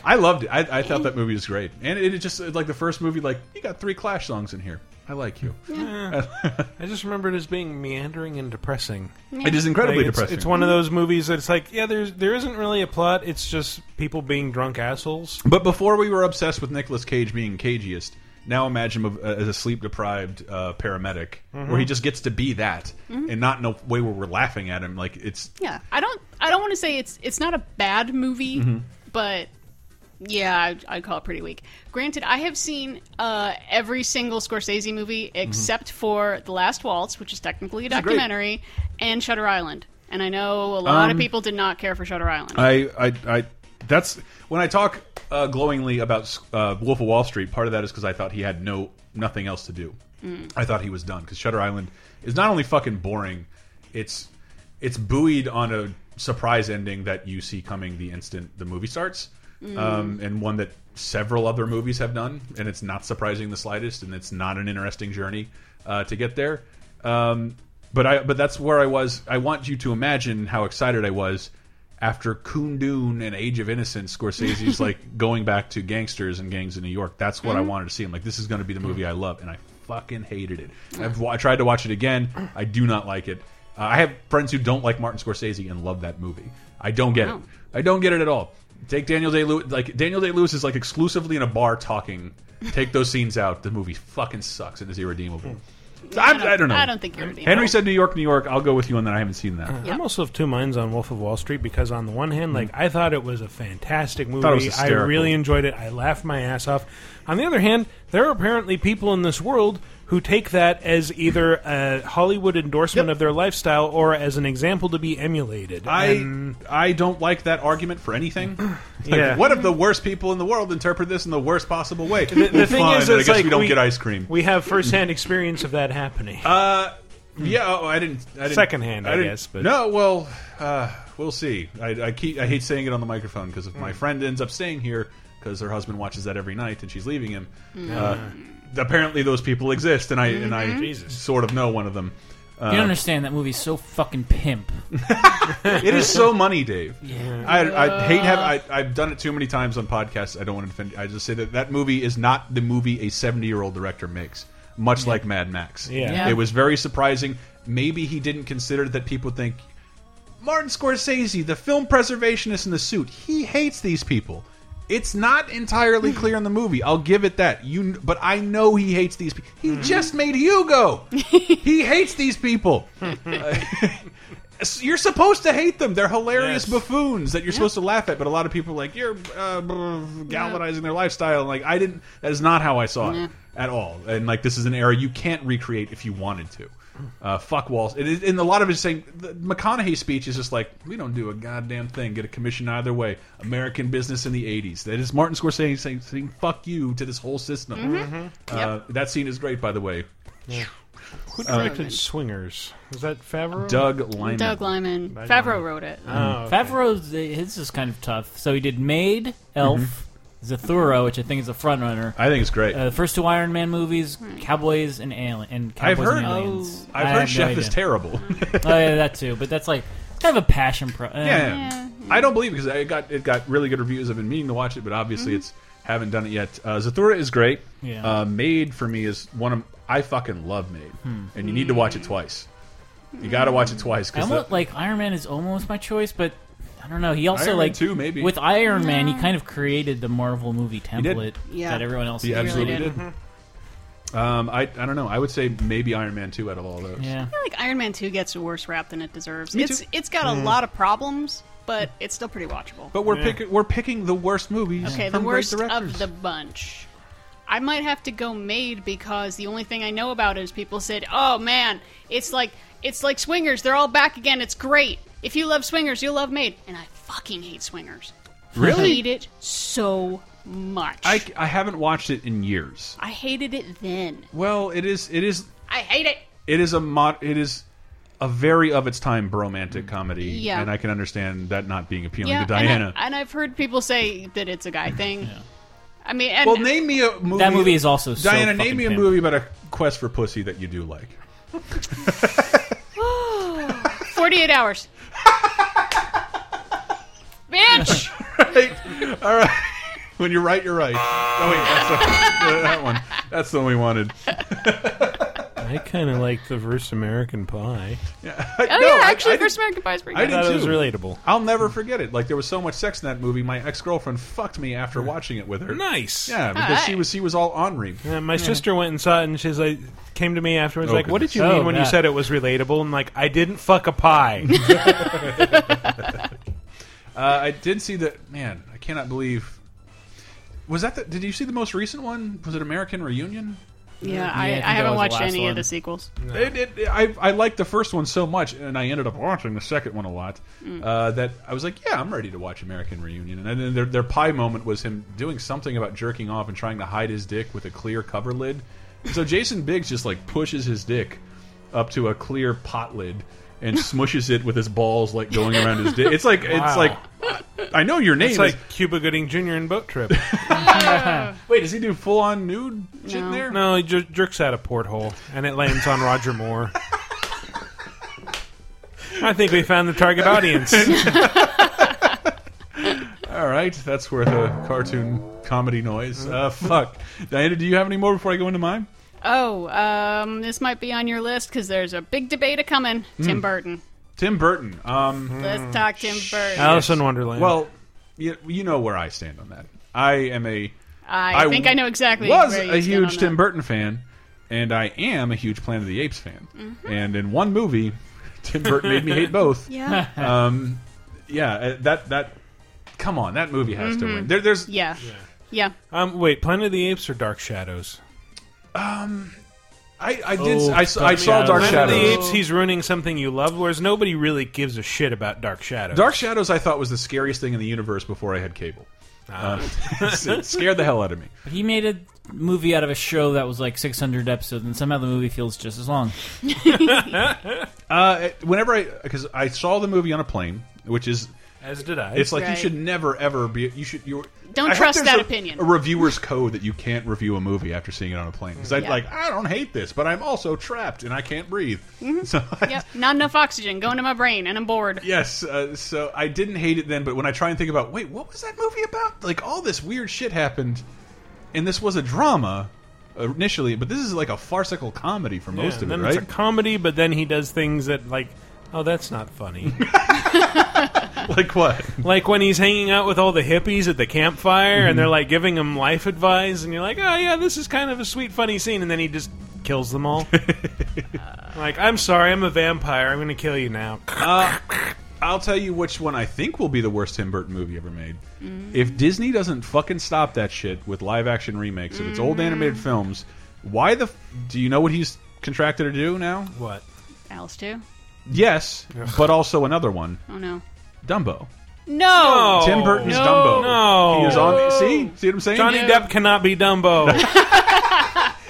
S2: I loved it. I, I thought that movie was great, and it, it just like the first movie. Like you got three Clash songs in here. I like you.
S5: I just remember it as being meandering and depressing.
S2: It is incredibly
S5: Like, it's,
S2: depressing.
S5: It's one of those movies that it's like, yeah, there's there isn't really a plot. It's just people being drunk assholes.
S2: But before we were obsessed with Nicolas Cage being cagiest, now imagine him uh, as a sleep deprived uh, paramedic, where he just gets to be that, and not in a way where we're laughing at him. Like it's
S3: Yeah, I don't. I don't want to say it's it's not a bad movie,
S2: Mm-hmm.
S3: but yeah, I, I'd call it pretty weak. Granted, I have seen uh, every single Scorsese movie except for The Last Waltz, which is technically a
S2: Mm-hmm. great.
S3: documentary, and Shutter Island. And I know a lot of people did not care for Shutter Island.
S2: Um, I, I, I, that's when I talk uh, glowingly about uh, Wolf of Wall Street. Part of that is because I thought he had no nothing else to do. I thought he was done because Shutter Island is not only fucking boring, it's it's buoyed on a surprise ending that you see coming the instant the movie starts, um, and one that several other movies have done, and it's not surprising the slightest, and it's not an interesting journey uh, to get there. Um, but I, but that's where I was. I want you to imagine how excited I was after Kundun and Age of Innocence,
S3: (laughs)
S2: Scorsese's like going back to gangsters and gangs in New York. That's
S3: Mm-hmm.
S2: what I wanted to see. I'm like, this is going to be the movie I love, and I fucking hated it. I've wa- I tried to watch it again. I do not like it. Uh, I have friends who don't like Martin Scorsese and love that movie. I don't get it.
S3: Wow.
S2: I don't get it at all. Take Daniel Day Lewis. Like Daniel Day Lewis is like exclusively in a bar talking. Take those scenes out. The movie fucking sucks and is irredeemable. So I'm- I, don't, know.
S3: Mm. I don't think you're.
S2: Henry said New York, New York. I'll go with you on that. I haven't seen that.
S3: Yeah.
S5: I'm also of two minds on Wolf of Wall Street because on the one hand, like I thought it was a fantastic movie.
S2: Mm. Thought it was
S5: I
S2: hysterical.
S5: really enjoyed it. I laughed my ass off. On the other hand, there are apparently people in this world who take that as either a Hollywood endorsement of their lifestyle or as an example to be emulated. And-
S2: I I don't like that argument for
S5: (clears throat)
S2: anything. It's like,
S5: Yeah.
S2: What if the worst people in the world interpret this in the worst possible way?
S5: the, the thing
S2: Fine,
S5: is,
S2: then I
S5: it's
S2: guess
S5: like
S2: we don't get ice cream.
S5: We have firsthand experience of that happening.
S2: uh, yeah, oh, I didn't. I didn't
S5: Secondhand, I
S2: didn't-
S5: guess, but-
S2: no. Well, uh, we'll see. I, I keep. I hate saying it on the microphone because if
S5: Mm.
S2: my friend ends up staying here because her husband watches that every night and she's leaving him, uh, apparently those people exist, and I and I
S5: Jesus.
S2: sort of know one of them.
S4: You don't understand that movie's so fucking pimp.
S2: It is so money, Dave. I, I hate have I, I've done it too many times on podcasts. I don't want to defend. I just say that that movie is not the movie a seventy year old director makes. Much like Mad Max.
S5: Yeah. Yeah.
S2: it was very surprising. Maybe he didn't consider that people think Martin Scorsese, the film preservationist in the suit, he hates these people. It's not entirely clear in the movie. I'll give it that. You, but I know he hates these people. He just made Hugo. he hates these people. You're supposed to hate them. They're hilarious
S5: Yes.
S2: buffoons that you're supposed to laugh at. But a lot of people are like you're uh, brr, galvanizing their lifestyle. Like I didn't. That is not how I saw it at all. And like this is an era you can't recreate if you wanted to. Uh, fuck Wall. It is, and a lot of it is saying the McConaughey speech is just like we don't do a goddamn thing. Get a commission either way. American business in the '80s. That is Martin Scorsese saying, saying "fuck you" to this whole system. Uh, that scene is great, by the way.
S5: Who directed Swingers? Was that Favreau?
S2: uh, Doug Ah, Liman.
S3: Doug Lyman. Favreau wrote it.
S5: Oh, okay.
S4: Favreau's eh, his is kind of tough. So he did Maid, Elf,
S2: Mm-hmm.
S4: Zathura, which I think is a frontrunner.
S2: I think it's great.
S4: Uh, the first two Iron Man movies, Cowboys and Alien, and Cowboys
S2: I've heard.
S4: and Aliens.
S2: I've heard
S4: I have no
S2: Chef
S4: idea.
S2: is terrible. (laughs)
S4: Oh yeah, that too. But that's like kind of a passion pro. eh.
S2: Yeah, I don't believe because I got it got really good reviews. I've been meaning to watch it, but obviously
S3: Mm-hmm.
S2: it's haven't done it yet. Uh, Zathura is great.
S4: Yeah.
S2: Uh, Made for me is one of I fucking love Made,
S4: Hmm.
S2: and you need to watch it twice. You got to watch it twice
S4: I
S2: because
S4: almost, like Iron Man is almost my choice, but I don't know. He also
S2: Iron Man
S4: like
S2: 2, maybe.
S4: with Iron Man, he kind of created the Marvel movie
S2: did.
S4: template
S3: Yeah.
S4: that everyone else.
S2: he
S4: used.
S2: absolutely
S3: really
S2: did. Um, I I don't know. I would say maybe Iron Man two out of all those.
S4: Yeah,
S3: I feel like Iron Man Two gets a worse rap than it deserves.
S2: Me
S3: it's
S2: too. Mm.
S3: it's got a lot of problems, but it's still pretty watchable.
S2: But we're picking we're picking the worst movies.
S3: Okay, the
S2: from
S3: worst
S2: great directors.
S3: of the bunch. I might have to go Made because the only thing I know about it is people said, "Oh man, it's like it's like Swingers. They're all back again. It's great. If you love Swingers, you'll love Made." And I fucking hate Swingers.
S2: Really?
S3: hate it so much.
S2: I I haven't watched it in years.
S3: I hated it then.
S2: Well, it is. It is.
S3: I hate it.
S2: it is a mod. It is a very of its time bromantic comedy.
S3: Mm. Yeah.
S2: and I can understand that not being appealing
S3: Yeah,
S2: to
S3: And,
S2: Diana.
S3: I, and I've heard people say that it's a guy thing. I mean, and
S2: well, name me a movie.
S4: That movie is also so
S2: Diana. name
S4: fucking
S2: me a
S4: family.
S2: movie about a quest for pussy that you do like.
S3: 48 hours. (laughs) Bitch!
S2: All right. (laughs) When you're right, you're right. Oh wait, that's the, that one. That's the one we
S3: (laughs)
S2: wanted. (laughs)
S5: I kind of like the first American Pie.
S3: Oh,
S2: No,
S3: yeah,
S2: I-
S3: actually,
S2: I did-
S3: First American Pie is pretty
S2: I
S3: good.
S2: did-
S5: That
S2: too.
S5: was relatable.
S2: I'll never forget it. Like there was so much sex in that movie. My ex girlfriend fucked me after watching it with her.
S5: Nice.
S2: Yeah, because she
S3: right.
S2: was she was all ornery.
S5: And my sister went and saw it, and she's like, came to me afterwards,
S2: Oh,
S5: like, "What did you
S4: goodness.
S5: mean
S4: Oh,
S5: when you
S4: that.
S5: said it was relatable?" I'm like, "I didn't fuck
S2: (laughs)
S5: a pie."
S2: Uh, I did see that. Man, I cannot believe. Was that the? Did you see the most recent one? Was it American Reunion?
S3: Yeah, I, I
S4: I think that was
S3: haven't
S4: the
S3: watched
S4: last
S3: any
S4: one.
S3: of the sequels.
S2: It, it, I, I liked the first one so much, and I ended up watching the second one a lot. Uh, that I was like, yeah, I'm ready to watch American Reunion. And then their, their pie moment was him doing something about jerking off and trying to hide his dick with a clear cover lid. So Jason Biggs just like pushes his dick up to a clear pot lid and smushes it with his balls like going around his dick. It's like it's
S5: Wow.
S2: like I know your name.
S5: it's
S2: is-
S5: like Cuba Gooding Jr. in
S2: (laughs)
S5: Boat Trip.
S2: wait, does he do full on nude shit in
S3: No.
S2: there?
S5: no, he jer- jerks out a porthole, and it lands on Roger
S2: (laughs)
S5: Moore. I think we found the
S2: (laughs)
S5: target audience.
S2: All right, that's worth a cartoon comedy noise. Uh, fuck, Diana, do you have any more before I go into mine?
S3: Oh, um, this might be on your list because there's a big debate a coming. Tim Burton.
S2: Tim Burton. Um,
S3: Let's talk Tim Burton.
S5: Alice in Wonderland.
S2: well, you, you know where I stand on that. I am a
S3: I,
S2: I
S3: think I know exactly.
S2: was a
S3: where you stand on
S2: huge
S3: that.
S2: Tim Burton fan, and I am a huge Planet of the Apes fan. And in one movie, (laughs) Tim Burton made me
S3: (laughs)
S2: hate both.
S3: Mm-hmm. Yeah,
S2: Um, yeah, uh, that that. Come on, that movie has to win. There, there's
S3: Mm-hmm. yeah, yeah.
S5: um, wait, Planet of the Apes or Dark Shadows?
S2: I, I did
S4: Oh,
S2: I, s- I
S4: Dark
S2: saw Dark
S5: Planet of the
S2: Shadows.
S5: Apes, he's ruining something you love, whereas nobody really gives a shit about Dark Shadows.
S2: Dark Shadows, I thought was the scariest thing in the universe before I had cable. Uh, (laughs) it scared the hell out of me.
S4: He made a movie out of a show that was like 600 episodes, and somehow the movie feels just as long.
S2: Uh, whenever I, because I saw the movie on a plane, which is
S5: As did I.
S2: It's like you
S3: Right.
S2: should never ever be. You should. You
S3: Don't
S2: I hope
S3: trust
S2: there's
S3: that
S2: a-
S3: opinion.
S2: A reviewer's code that you can't review a movie after seeing it on a plane. Because I'd
S3: Yeah.
S2: like, I don't hate this, but I'm also trapped and I can't breathe. (laughs)
S3: Mm-hmm.
S2: So
S3: Yep. Not enough oxygen going to my brain, and I'm bored.
S2: yes, uh, so I didn't hate it then. But when I try and think about, wait, what was that movie about? Like all this weird shit happened, and this was a drama uh, initially, but this is like a farcical comedy for most
S5: Yeah,
S2: of it,
S5: then
S2: right? (laughs)
S5: It's a comedy, but then he does things that like, oh, that's not funny. (laughs)
S2: like what? (laughs)
S5: like when he's hanging out with all the hippies at the campfire, and they're
S2: Mm-hmm.
S5: like giving him life advice, and you're like, oh yeah, this is kind of a sweet, funny scene, and then he just kills
S2: (laughs)
S5: them all. like, I'm sorry, I'm a vampire. I'm going to kill you now.
S2: I'll tell you which one I think will be the worst Tim Burton movie ever made. If Disney doesn't fucking stop that shit with live action remakes of its old animated films, why the f do you know what he's contracted to do now?
S5: what?
S3: Alice too.
S2: Yes, but also another one,
S3: Oh no.
S2: Dumbo.
S3: No.
S2: Tim Burton's
S5: No.
S2: Dumbo.
S5: Oh, No.
S2: He is on See? See what I'm saying?
S5: Johnny Depp cannot
S2: (laughs)
S5: be Dumbo.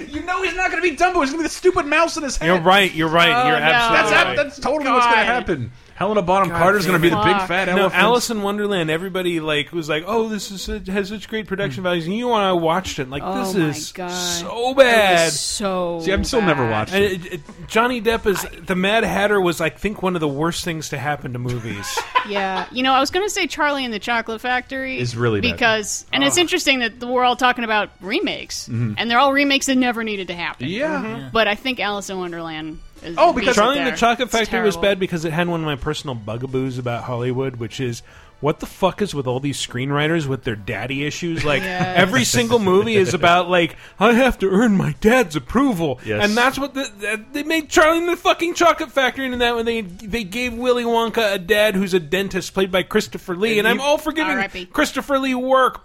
S2: You know he's not going to be Dumbo. He's going to be the stupid mouse in his head.
S5: you're right. You're right.
S3: Oh,
S5: you're
S3: no.
S5: absolutely
S2: That's
S5: right.
S2: hap- that's totally what's going to
S3: God.
S2: happen. Helena Bonham Carter's going to be the big
S3: Fuck.
S2: fat
S5: No,
S2: elephant.
S5: Alice in Wonderland. Everybody like was like, "Oh, this is such, has such great production values." And you and I watched it. Like,
S3: Oh
S5: this
S3: my
S5: is
S3: God.
S5: so
S3: It
S5: bad.
S3: was so.
S2: See, I'm still never
S3: bad.
S2: watched
S5: And it- it- Johnny Depp is the Mad Hatter was I think one of the worst things to happen to movies.
S3: Yeah, you know, I was going to say Charlie and the Chocolate Factory
S2: Is really bad. Ah.
S3: because, and it's interesting that we're all talking about remakes, and they're all remakes that never needed to happen.
S2: Mm-hmm. Yeah.
S5: Mm-hmm.
S3: But I think Alice in Wonderland. Is
S2: Oh, because-
S3: beats it
S5: Charlie and
S3: there.
S5: the Chocolate
S3: It's
S5: Factory was
S3: terrible.
S5: bad because it had one of my personal bugaboos about Hollywood, which is what the fuck is with all these screenwriters with their daddy issues? Like
S3: Yes.
S5: (laughs) every single movie is about like I have to earn my dad's approval,
S2: Yes.
S5: and that's what the, that, they made Charlie and the fucking Chocolate Factory, and in that one they they gave Willy Wonka a dad who's a dentist played by Christopher Lee, and, I'm all for giving
S3: R.I.P..
S5: Christopher Lee work,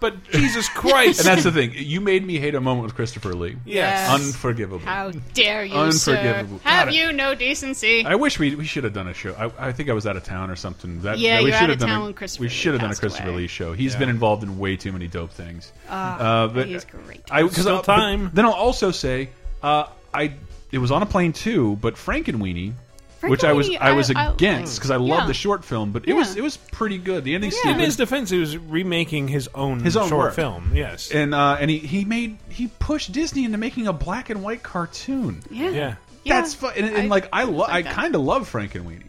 S3: (laughs)
S5: but Jesus Christ,
S2: And that's the thing. You made me hate a moment with Christopher Lee.
S5: yes.
S3: Yes.
S2: Unforgivable.
S3: How dare you,
S2: Unforgivable.
S3: sir? Have
S2: God, I-
S3: you no decency?
S2: I wish we we should have done a show. I, I think I was out of town or something. That,
S3: Yeah,
S2: that we
S3: you were
S2: should
S3: out
S2: have
S3: of
S2: done
S3: town
S2: a,
S3: when Christopher
S2: We
S3: Lee
S2: should have done a
S3: passed
S2: Christopher
S3: away.
S2: Lee show. He's been involved in way too many dope things. Uh, but
S3: he is great.
S2: I, 'cause
S5: Still
S2: I'll- but
S5: time.
S2: Then I'll also say uh, I it was on a plane too, but Frankenweenie, which I was
S3: Frankenweenie,
S2: I was
S3: I- I-
S2: against because I, love
S3: yeah.
S2: the short film, but it was
S3: Yeah.
S2: it was pretty good. The ending
S5: In his
S2: sequence
S5: defense, he was remaking his own
S2: His own
S5: short
S2: work.
S5: film. Yes.
S2: and uh, and he, he made he pushed Disney into making a black and white cartoon.
S3: Yeah.
S5: yeah.
S2: That's fun. And, and
S3: I-
S2: like I lo-
S3: like
S2: I
S3: that.
S2: kind of love Frankenweenie.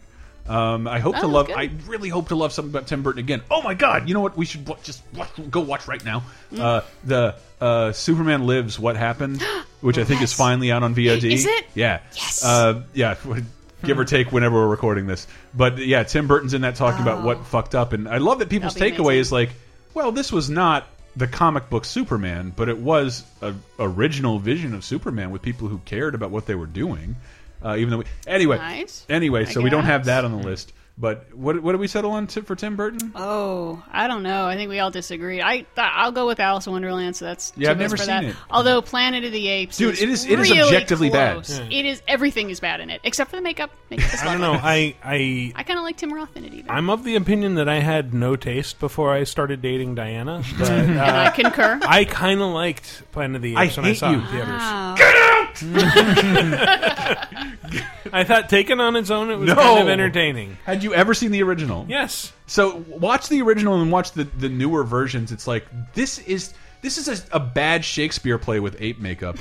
S2: Um, I hope
S3: That
S2: to
S3: was
S2: love.
S3: good.
S2: I really hope to love something about Tim Burton again. Oh my God! You know what? We should wa- just watch, go watch right now.
S3: Mm.
S2: Uh, the uh, Superman Lives: What
S3: (gasps)
S2: Happened, which I think is
S3: Yes.
S2: finally out on VOD.
S3: Is it?
S2: Yeah.
S3: Yes. Hmm.
S2: Uh, yeah. (laughs) Give or take, whenever we're recording this. But yeah, Tim Burton's in that talking about what fucked up, and I love that people's
S3: That'll be
S2: takeaway
S3: amazing.
S2: is like, well, this was not the comic book Superman, but it was a original vision of Superman with people who cared about what they were doing. Uh, even though, we, anyway,
S3: Nice,
S2: anyway,
S3: I
S2: so we don't have
S3: guess.
S2: that on the list. But what what did we settle on t for Tim Burton?
S3: Oh, I don't know. I think we all disagree. I I'll go with Alice in Wonderland. So that's
S2: Yeah, I've
S3: two votes
S2: never
S3: for
S2: seen
S3: that.
S2: it.
S3: Although Planet of the Apes,
S2: Dude,
S3: is
S2: it is- it is
S3: really
S2: objectively bad.
S3: close. It is everything is bad in it except for the makeup.
S2: (laughs)
S3: Makeup is
S5: I don't
S3: lovely.
S5: know. I I
S3: I kind of like Tim Roth in it even.
S5: I'm of the opinion that I had no taste before I started
S2: (laughs)
S5: dating Diana. But
S3: and I
S5: uh,
S3: concur.
S5: I kind of liked Planet of the Apes
S2: I
S5: when I
S2: hate
S5: saw
S2: you.
S5: it in theaters.
S3: Wow.
S5: (laughs) I thought taken on its own, it was
S2: No.
S5: kind of entertaining.
S2: Had you ever seen the original?
S5: Yes.
S2: So watch the original and watch the the newer versions. It's like this is this is a, a bad Shakespeare play with ape
S3: (laughs)
S2: makeup,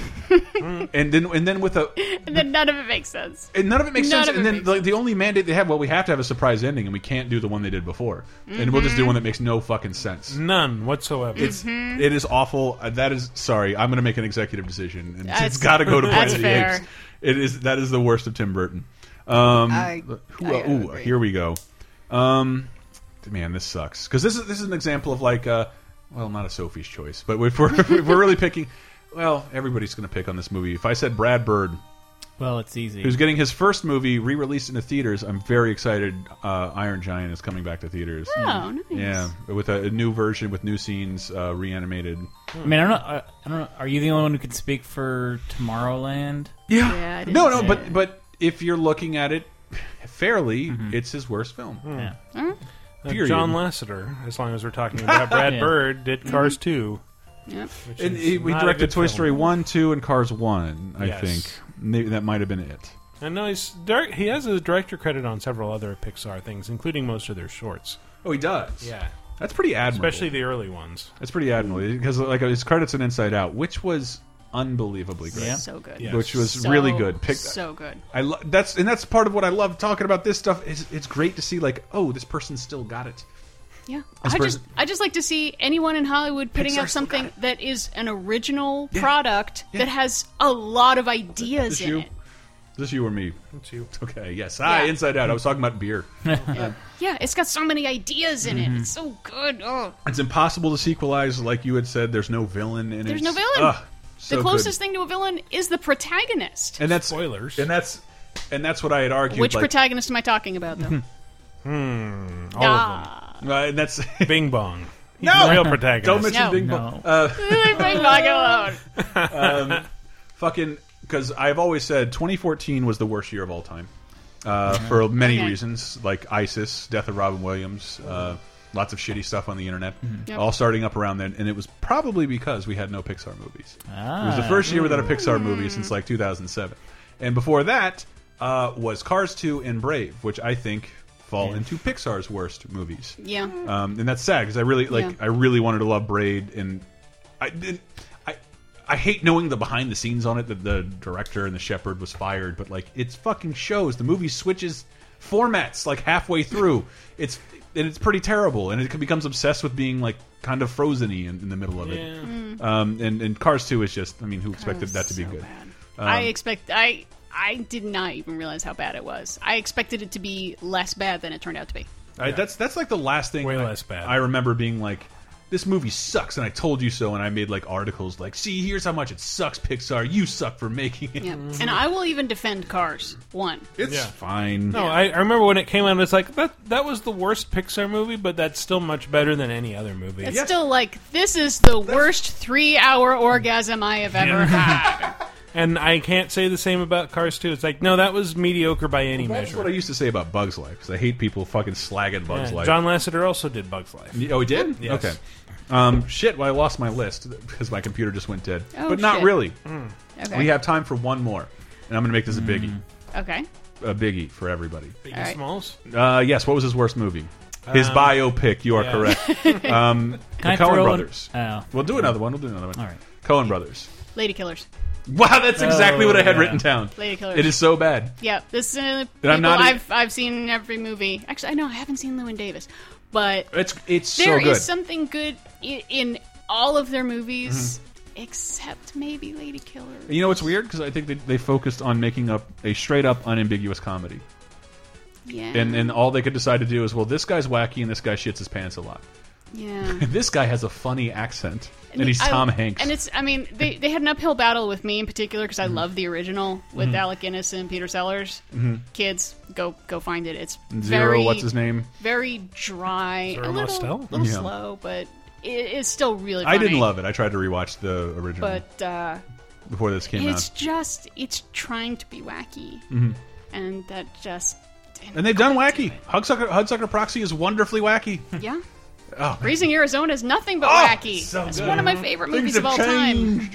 S2: and then and then with a
S3: and then none of it makes sense.
S2: And none of it makes
S3: None
S2: sense.
S3: of
S2: And
S3: it
S2: then
S3: makes
S2: the, the only mandate they have, well, we have to have a surprise ending, and we can't do the one they did before, and we'll
S3: Mm-hmm.
S2: just do one that makes no fucking sense.
S5: None whatsoever.
S2: It's it is awful. Uh, That is sorry. I'm going to make an executive decision, and it's
S3: That's-
S2: got to go to Planet
S3: that's
S2: of the
S3: fair.
S2: Apes. It is that is the worst of Tim Burton. Um,
S3: I-
S2: who-
S3: I
S2: uh, ooh,
S3: agree.
S2: here we go. Um, man, this sucks because this is this is an example of like, uh, well, not a Sophie's choice, but if we're (laughs) if we're really picking, well, everybody's going to pick on this movie. If I said Brad Bird,
S4: Well, it's easy.
S2: who's getting his first movie re-released in the theaters. I'm very excited. Uh, Iron Giant is coming back to theaters. Mm.
S3: Oh, nice.
S2: Yeah, with a, a new version with new scenes, uh, reanimated.
S4: I mean, I don't know. I, I don't know. Are you the only one who can speak for Tomorrowland?
S3: Yeah, I didn't
S2: No, no,
S3: see
S2: but but if you're looking at it fairly,
S5: Mm-hmm.
S2: it's his worst film.
S5: Mm,
S4: Yeah.
S5: Uh,
S2: period. Mm-hmm.
S5: John Lasseter, as long as we're talking
S2: (laughs)
S5: about Brad
S4: Yeah.
S5: Bird, did Cars 2.
S3: Yep.
S5: which
S2: And
S5: is
S2: he, he
S5: not a
S2: directed
S5: good
S2: Toy
S5: film.
S2: Story one, two, and Cars one. I
S5: Yes.
S2: think Maybe that might have been it.
S5: I know he's direct, he has a director credit on several other Pixar things, including most of their shorts.
S2: Oh, he does. that's pretty admirable.
S5: especially the early ones.
S2: that's pretty admirable because like his credits in Inside Out, which was unbelievably great.
S4: Yeah.
S3: So good.
S5: Yeah.
S2: Which was
S3: So,
S2: really good. Pick,
S3: so good.
S2: I lo- that's and that's part of what I love talking about this stuff is it's great to see like oh this person still got it.
S3: Yeah,
S2: This
S3: I just
S2: person-
S3: I just like to see anyone in Hollywood putting
S2: Pixar's
S3: out
S2: still
S3: something
S2: got
S3: that is an original product that has a lot of ideas
S2: Is this
S3: in
S2: you?
S3: it.
S2: Is this you or me?
S5: That's you.
S2: Okay, yes. Hi,
S3: Yeah.
S2: Inside Out. I was talking about beer.
S3: Yeah, it's got so many ideas in
S2: Mm-hmm.
S3: it. It's so good. Oh,
S2: it's impossible to sequelize, like you had said. There's no villain in it.
S3: There's no villain.
S2: Ugh, so
S3: the closest
S2: good.
S3: thing to a villain is the protagonist.
S2: and that's
S5: Spoilers.
S2: and that's and that's what I had argued.
S3: Which
S2: like,
S3: protagonist am I talking
S2: (laughs)
S3: about, though? Ah,
S5: All of them.
S2: uh, and
S3: (laughs)
S2: that's
S5: Bing Bong. He's
S2: No!
S5: the real protagonist.
S2: don't mention
S3: No.
S2: Bing
S4: No.
S2: Bong. Uh,
S3: Leave Bing Bong alone.
S2: fucking because I've always said 2014 was the worst year of all time uh, for many
S3: Okay.
S2: reasons, like ISIS, death of Robin Williams, uh, lots of shitty stuff on the internet,
S3: Yep.
S2: all starting up around then. And it was probably because we had no Pixar movies. It was the
S4: Ah.
S2: first year without a Pixar movie since like 2007, and before that uh, was Cars 2 and Brave, which I think fall into Pixar's worst movies.
S3: Yeah.
S2: Um, and that's sad because I really like
S3: Yeah.
S2: I really wanted to love Braid, and I did. I I hate knowing the behind the scenes on it that the director and the shepherd was fired, but like it's fucking shows. The movie switches formats like halfway
S3: (laughs)
S2: through. It's and it's pretty terrible, and it becomes obsessed with being like kind of frozeny in, in the middle of it.
S3: Mm.
S2: Um, and and Cars Two is just I mean, who expected that to be
S3: So
S2: good? Um,
S3: bad. I expect I I did not even realize how bad it was. I expected it to be less bad than it turned out to be.
S2: I, that's that's like the last thing.
S5: Way
S2: I,
S5: less bad.
S2: I remember being like, "This movie sucks," and I told you so, and I made like articles like, "See, here's how much it sucks, Pixar. You suck for making it.
S3: (laughs) Yeah. And I will even defend Cars one.
S2: It's
S5: Yeah.
S2: fine."
S5: No, I, I remember when it came out. It's like that. That was the worst Pixar movie, but that's still much better than any other movie.
S3: It's
S2: Yes.
S3: still like this is the worst three hour orgasm I have
S2: (laughs)
S3: ever had.
S5: And I can't say the same about Cars 2. It's like, no, that was mediocre by any
S2: That's
S5: measure.
S2: what I used to say about Bugs Life because I hate people fucking slagging Bugs
S5: Yeah,
S2: Life.
S5: John Lasseter also did Bugs Life.
S2: oh, he did.
S5: Yes.
S2: Okay. Um, shit. Well, I lost my list because my computer just went dead.
S3: Oh,
S2: but not
S3: shit.
S2: really.
S3: Okay.
S2: We have time for one more. and I'm going to make this a
S5: Hmm.
S2: biggie,
S3: Okay.
S2: a biggie for everybody.
S5: Biggie
S3: right.
S5: Smalls.
S2: Uh, yes, what was his worst movie? His biopic. You are
S5: Um, yeah. (laughs)
S2: correct.
S4: Can I
S2: Coen
S4: throw in-
S2: Brothers.
S4: Oh.
S2: We'll do another one. We'll do another one.
S4: All right.
S2: Cohen Brothers.
S3: Lady Killers.
S2: Wow, that's exactly what I had
S4: Oh, yeah.
S2: written down.
S3: Lady Killers.
S2: It is so bad.
S3: Yeah, this is uh,
S2: And
S3: people
S2: I'm not e- a-
S3: I've I've seen in every movie. Actually, I know I haven't seen Lewin Davis, but
S2: It's it's
S3: there
S2: so
S3: is
S2: good.
S3: something good in, in all of their movies,
S2: Mm-hmm.
S3: except maybe Lady Killers.
S2: you know what's weird? Because I think they, they focused on making up a straight up unambiguous comedy,
S3: Yeah,
S2: and and all they could decide to do is, well, this guy's wacky and this guy shits his pants a lot. (laughs)
S3: yeah.
S2: This guy has a funny accent, and, he's
S3: I-
S2: Tom Hanks. Mm-hmm.
S3: And it's, I mean, they, they had an uphill battle with me in particular because I love the original with Alec Guinness and Peter Sellers. Kids, go go find it. It's
S2: Mm-hmm. Zero.
S3: very,
S2: what's his name?
S3: Very dry,
S5: Zero
S3: a little,
S5: Mostel?
S3: little
S2: Yeah.
S3: slow, but it is still really. Funny.
S2: I didn't love it. I tried to rewatch the original
S3: but uh,
S2: before this came
S3: it's
S2: out.
S3: just it's trying to be wacky, and that just. didn't
S2: Mm-hmm. And they've done
S3: quite do
S2: wacky. Hudsucker, Hudsucker Proxy is wonderfully wacky.
S3: it. Yeah.
S2: Oh, man.
S3: Raising Arizona is nothing but
S2: Oh,
S3: wacky.
S2: so
S3: It's
S2: good.
S3: one of my favorite movies of all time.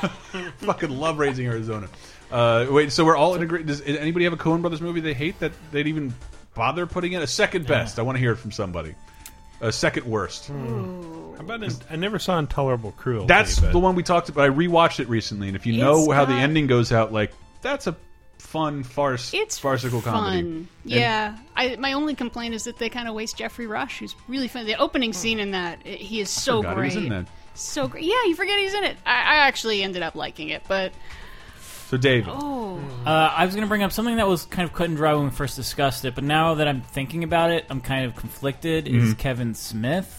S2: time. (laughs) Fucking love raising Arizona. Uh, wait, so we're all in agree. Does anybody have a Coen Brothers movie they hate that they'd even bother putting in a second best? I want to hear it from somebody. A second worst.
S3: Hmm.
S5: How about in- I never saw Intolerable Cruelty.
S2: That's
S5: but
S2: the one we talked about. I rewatched it recently, and if you
S3: It's
S2: know how the
S3: got-
S2: ending goes out, like that's a fun farce.
S3: It's
S2: farcical
S3: fun.
S2: comedy.
S3: Yeah, I, my only complaint is that they kind of waste Jeffrey Rush, who's really fun. The opening scene in that, i he is so
S2: forgot he
S3: great.
S2: was in that.
S3: So great. Yeah, you forget he's in it. I, I actually ended up liking it, but
S2: So David,
S3: oh,
S4: Uh, I was going to bring up something that was kind of cut and dry when we first discussed it, but now that I'm thinking about it, I'm kind of conflicted.
S2: Mm-hmm.
S4: Is Kevin Smith?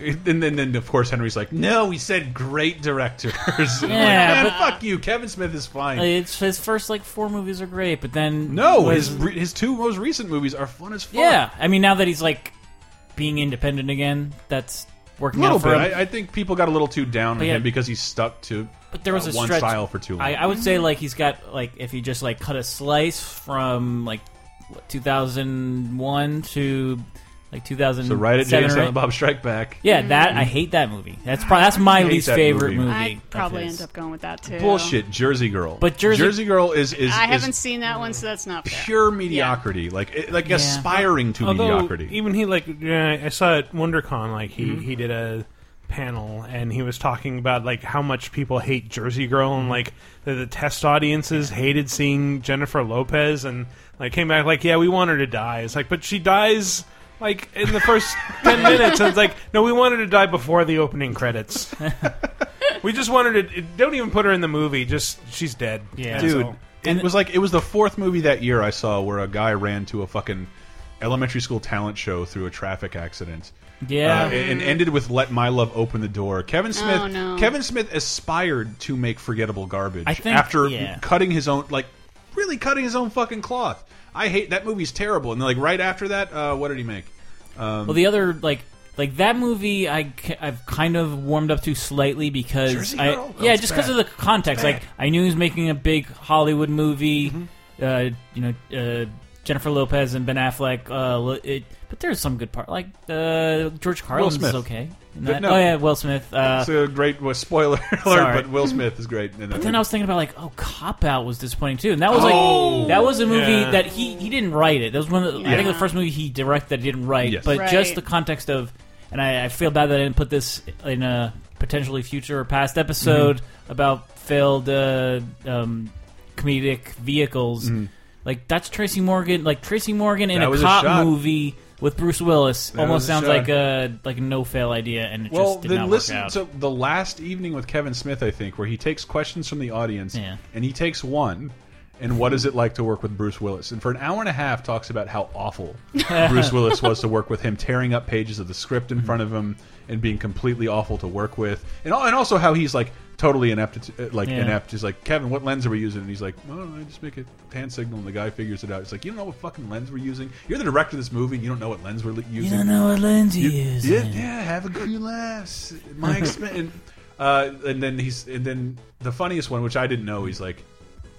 S2: and then then of course Henry's like, no, we said great directors. (laughs) I'm like,
S4: Yeah,
S2: "Man,
S4: but- Oh,
S2: fuck you. Kevin Smith is fine.
S4: It's his first like four movies are great, but then
S2: No,
S4: was-
S2: his re- his two most recent movies are fun as fuck.
S4: yeah. I mean, now that he's like being independent again, that's
S2: a
S4: working
S2: little
S4: out for
S2: bit.
S4: him.
S2: I, I think people got a little too down on
S4: But yeah.
S2: him because he's stuck to
S4: But there was
S2: uh,
S4: a
S2: one
S4: stretch-
S2: style for too long.
S4: I, I would say like he's got like if he just like cut a slice from like what, 2001 to like 2007.
S2: so right at James
S4: or
S2: and
S4: eight.
S2: Bob Strike Back.
S4: Yeah, that I hate that movie. That's probably that's my
S2: hate
S4: least
S2: that
S4: favorite
S2: movie.
S4: movie.
S3: I
S4: of
S3: probably
S4: his.
S3: end up going with that too.
S2: Bullshit, Jersey Girl.
S4: But Jersey-
S2: Girl is is,
S3: I
S2: is
S3: haven't seen that one, so that's not fair.
S2: pure mediocrity, like it- like aspiring to
S5: Although,
S2: mediocrity.
S5: Even he like yeah, I saw at WonderCon like he he did a panel and he was talking about like how much people hate Jersey Girl and like the, the test audiences hated seeing Jennifer Lopez and like came back like yeah we want her to die it's like but she dies like in the (laughs) first 10 minutes and it's like no we want her to die before the opening (laughs) credits we just want her to don't even put her in the movie just she's dead
S4: Yeah.
S5: And
S2: dude.
S5: so-
S2: it was like it was the fourth movie that year I saw where a guy ran to a fucking elementary school talent show through a traffic accident.
S4: Yeah.
S2: Uh, and and ended with "Let My Love Open the Door." Kevin Smith.
S3: no.
S2: Kevin Smith aspired to make forgettable garbage.
S4: I think-
S2: after
S4: yeah.
S2: cutting his own, like really cutting his own fucking cloth. I hate that movie's terrible. And like right after that, uh, what did he make? Um,
S4: well, the other like like that movie I have kind of warmed up to slightly because
S2: Jersey
S4: I
S2: Girl? That
S4: yeah
S2: was
S4: just
S2: bad.
S4: because of the context. Like I knew he was making a big Hollywood movie.
S2: Mm-hmm.
S4: Uh, you know, uh, Jennifer Lopez and Ben Affleck. Uh, li- it, but there's some good part. Like uh, George Carlin's
S2: Smith.
S4: is okay.
S2: But
S4: in that.
S2: no.
S4: Oh yeah, Will Smith. Uh,
S2: It's a great well, spoiler (laughs) alert,
S4: Sorry.
S2: but Will Smith is great. In that
S4: But then I
S2: movie.
S4: was thinking about like, oh, Cop Out was disappointing too, and that was like
S2: Oh.
S4: that was a movie
S5: Yeah.
S4: that he he didn't write it. That was one of the, I think
S3: Yeah.
S4: the first movie he directed that he didn't write,
S2: Yes.
S4: but
S3: Right.
S4: just the context of, and I, I feel bad that I didn't put this in a potentially future or past episode
S2: Mm-hmm.
S4: about failed uh, um, comedic vehicles. Like that's Tracy Morgan, like Tracy Morgan in
S2: Mm-hmm. That
S4: a
S2: was a
S4: cop
S2: shot.
S4: movie with Bruce Willis
S2: was
S4: almost
S2: a
S4: sounds
S2: shot.
S4: like a like a no fail idea, and it
S2: well,
S4: just did
S2: then
S4: not
S2: listen
S4: work out.
S2: to the last evening with Kevin Smith, I think, where he takes questions from the audience,
S4: Yeah.
S2: and he takes one. And what is it like to work with Bruce Willis? And for an hour and a half, talks about how
S4: (laughs)
S2: awful Bruce Willis was to work with him, tearing up pages of the script in front of him, and being completely awful to work with, and al- and also how he's like totally inept, uh, like
S4: Yeah.
S2: inept. He's like, Kevin, what lens are we using? And he's like, oh, I just make a hand signal, and the guy figures it out. He's like, you don't know what fucking lens we're using. You're the director of this movie, and you don't know what lens we're li-
S4: you
S2: using.
S4: don't know what lens he
S2: You-
S4: is.
S2: Yeah, yeah, have a few laughs. My expense. uh, and then he's and then the funniest one, which I didn't know. He's like,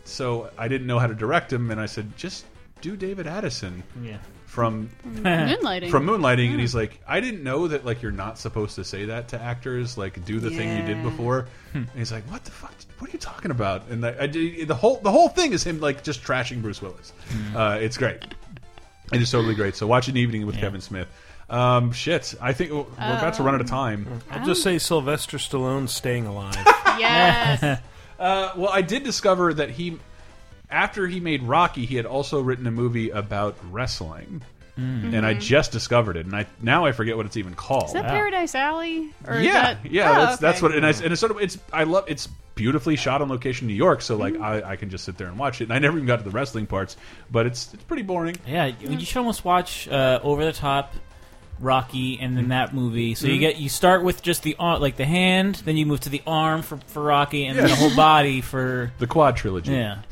S2: so I didn't know how to direct him, and I said, just do David Addison
S5: Mm-hmm.
S4: Yeah.
S2: from
S3: Moonlighting.
S2: from Moonlighting, and he's like, I didn't know that like you're not supposed to say that to actors, like do the thing you did
S3: Yeah.
S2: before. And he's like, what the fuck? What are you talking about? And I, I did, the whole the whole thing is him like just trashing Bruce Willis. Uh, it's great. It is totally great. So watch an evening with Kevin Smith. Um, shit, I think we're about to run
S3: Um,
S2: out of time.
S5: I'll just say Sylvester Stallone staying alive.
S3: yes.
S2: Uh, well, I did discover that he, after he made Rocky, he had also written a movie about wrestling. And I just discovered it, and I now I forget what it's even called.
S3: Mm-hmm. Is that Paradise Alley? Or is
S2: yeah,
S3: that-
S2: yeah,
S3: Oh,
S2: that's that's
S3: okay.
S2: what, and I and it's sort of it's I love it's beautifully shot on location in New York, so
S3: Mm-hmm.
S2: like I, I can just sit there and watch it, and I never even got to the wrestling parts, but it's it's pretty boring.
S4: Yeah, you- you should almost watch uh, Over the Top, Rocky, and then that movie. So you
S2: Mm-hmm.
S4: get you start with just the ar- like the hand, then you move to the arm for, for Rocky, and then
S2: Yeah.
S4: the
S2: (laughs)
S4: whole body for
S2: The Quad trilogy,
S4: yeah.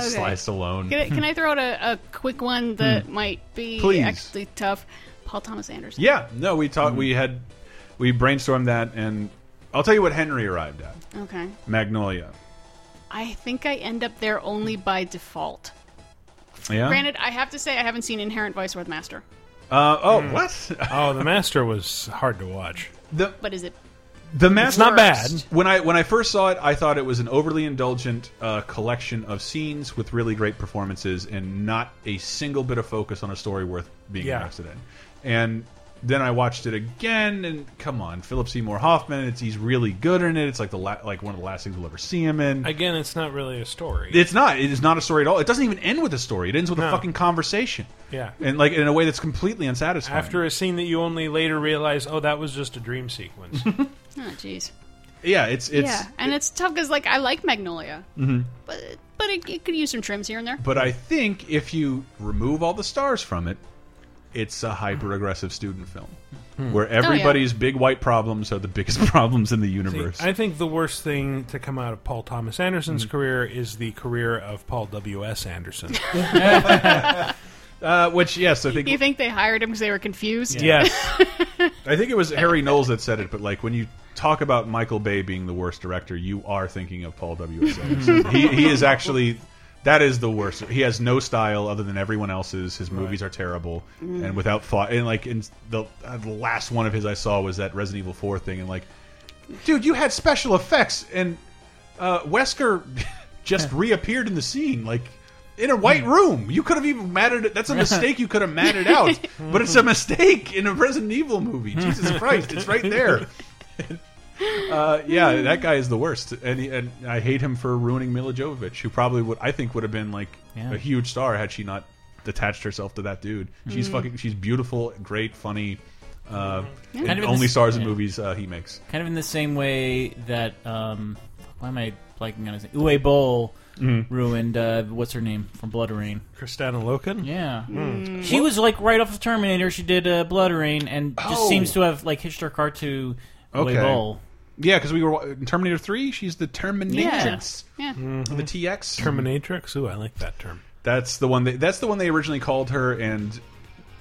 S2: sliced alone.
S3: Can I, can I throw out a, a quick one that might be
S2: Mm-hmm. Mm. Please.
S3: actually tough? Paul Thomas Anderson.
S2: Yeah, no, we talked,
S3: Mm.
S2: we had, we brainstormed that, and I'll tell you what Henry arrived at:
S3: Okay.
S2: Magnolia.
S3: I think I end up there only by default.
S2: Yeah.
S3: Granted, I have to say I haven't seen Inherent Vice with Master,
S2: Uh, oh,
S3: Mm.
S2: what? (laughs)
S5: oh, The Master was hard to watch.
S2: the
S3: but is it?
S2: the
S5: It's
S2: master.
S5: not bad.
S2: When I when I first saw it, I thought it was an overly indulgent uh, collection of scenes with really great performances and not a single bit of focus on a story worth being
S5: Yeah.
S2: invested in. And then I watched it again, and come on, Philip Seymour Hoffman. It's he's really good in it. It's like the la like one of the last things we'll ever see him in.
S5: Again, it's not really a story.
S2: It's not. It is not a story at all. It doesn't even end with a story. It ends with a
S5: No.
S2: fucking conversation.
S5: Yeah.
S2: and like in a way that's completely unsatisfying.
S5: After a scene that you only later realize, oh, that was just a dream sequence.
S3: Oh, jeez.
S2: yeah, it's it's.
S3: Yeah, and it's tough because like I like Magnolia, mm-hmm. but but it, it could use some trims here and there.
S2: But I think if you remove all the stars from it, it's a hyper aggressive student film where everybody's big white problems are the biggest (laughs) problems in the universe.
S5: I think the worst thing to come out of Paul Thomas Anderson's career is the career of Paul W. S. Anderson.
S2: uh, which yes, I think
S3: Do you think they hired him because they were confused?
S5: yes,
S2: I think it was Harry Knowles that said it. But like when you talk about Michael Bay being the worst director, you are thinking of Paul W. S. Anderson. he, he is actually. That is the worst. He has no style other than everyone else's. His movies are terrible and without thought. And like in the, uh, the last one of his I saw was that Resident Evil Four thing, and like dude, you had special effects, and uh, Wesker (laughs) just reappeared in the scene, like in a white room. You could have even matted it. That's a mistake. You could have matted
S4: (laughs)
S2: out, but it's a mistake in a Resident Evil movie.
S4: (laughs)
S2: Jesus Christ, it's right there. Uh, yeah, that guy is the worst, and he, and I hate him for ruining Mila Jovovich, who probably would I think would have been like
S4: Yeah.
S2: a huge star had she not attached herself to that dude.
S4: Mm.
S2: She's fucking. She's beautiful, great, funny. Uh, and
S4: Kind of in
S2: only
S4: this-
S2: stars in
S4: yeah.
S2: movies uh, he makes.
S4: Kind of in the same way that um, why am I blanking on his name? Uwe Boll
S2: Mm-hmm.
S4: ruined uh, what's her name from Blood Rain.
S5: Christina Loken.
S4: Yeah,
S2: Mm.
S4: she was like right off of Terminator. She did uh, Blood Rain, and just
S2: Oh.
S4: seems to have like hitched her car to
S2: Okay.
S4: Uwe Boll.
S2: Yeah, because we were wa- in Terminator Three. She's the Terminatrix,
S3: Yeah.
S2: the TX.
S5: Terminatrix. Ooh, I like that term.
S2: that's the one. They, that's the one they originally called her, and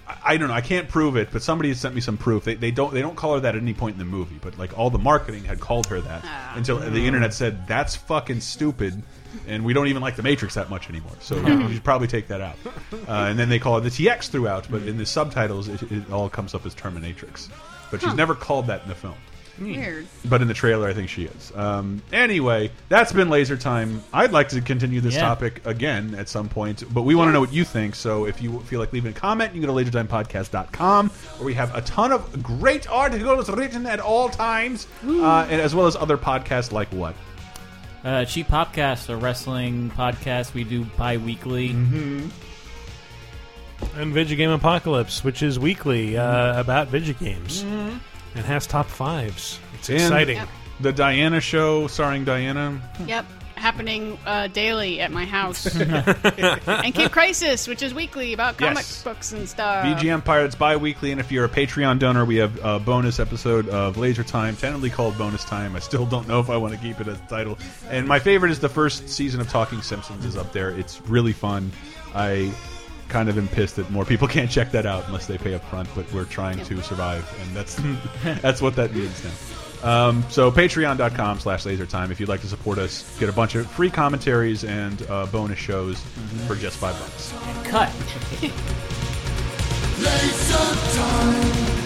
S2: I, I don't know. I can't prove it, but somebody sent me some proof. They, they don't they don't call her that at any point in the movie, but like all the marketing had called her that until the internet said that's fucking stupid, and we don't even like the Matrix that much anymore. So we should probably take that out. Uh, and then they call her the TX throughout, but in the subtitles it, it all comes up as Terminatrix, but she's never called that in the film.
S3: Weird.
S2: But in the trailer, I think she is. Um, anyway, that's been laser time. I'd like to continue this
S4: Yeah.
S2: topic again at some point, but we want to know what you think. So if you feel like leaving a comment, you can go to lasertimepodcast.com, where we have a ton of great articles written at all times, uh, and as well as other podcasts like what?
S4: Uh, Cheap Popcast, a wrestling podcast we do bi-weekly.
S5: And Video Game Apocalypse, which is weekly uh, about video games and has top fives. It's
S2: And-
S5: exciting.
S3: Yep.
S2: The Diana Show, starring Diana.
S3: Yep. Happening uh, daily at
S2: (laughs)
S3: my house. and Cape Crisis, which is weekly about comic
S2: Yes.
S3: books and stuff.
S2: VGM Pirates bi-weekly, and if you're a Patreon donor, we have a bonus episode of Laser Time, tentatively called Bonus Time. I still don't know if I want to keep it as a title. And my favorite is the first season of Talking Simpsons is up there. It's really fun. I kind of am pissed that more people (laughs) can't (laughs) check that out unless they pay up front, but we're trying to survive, and that's that's what that means now. Um, so patreon.com slash lasertime if you'd like to support us. Get a bunch of free commentaries and uh, bonus shows for just five bucks.
S4: Cut.
S9: Laser time.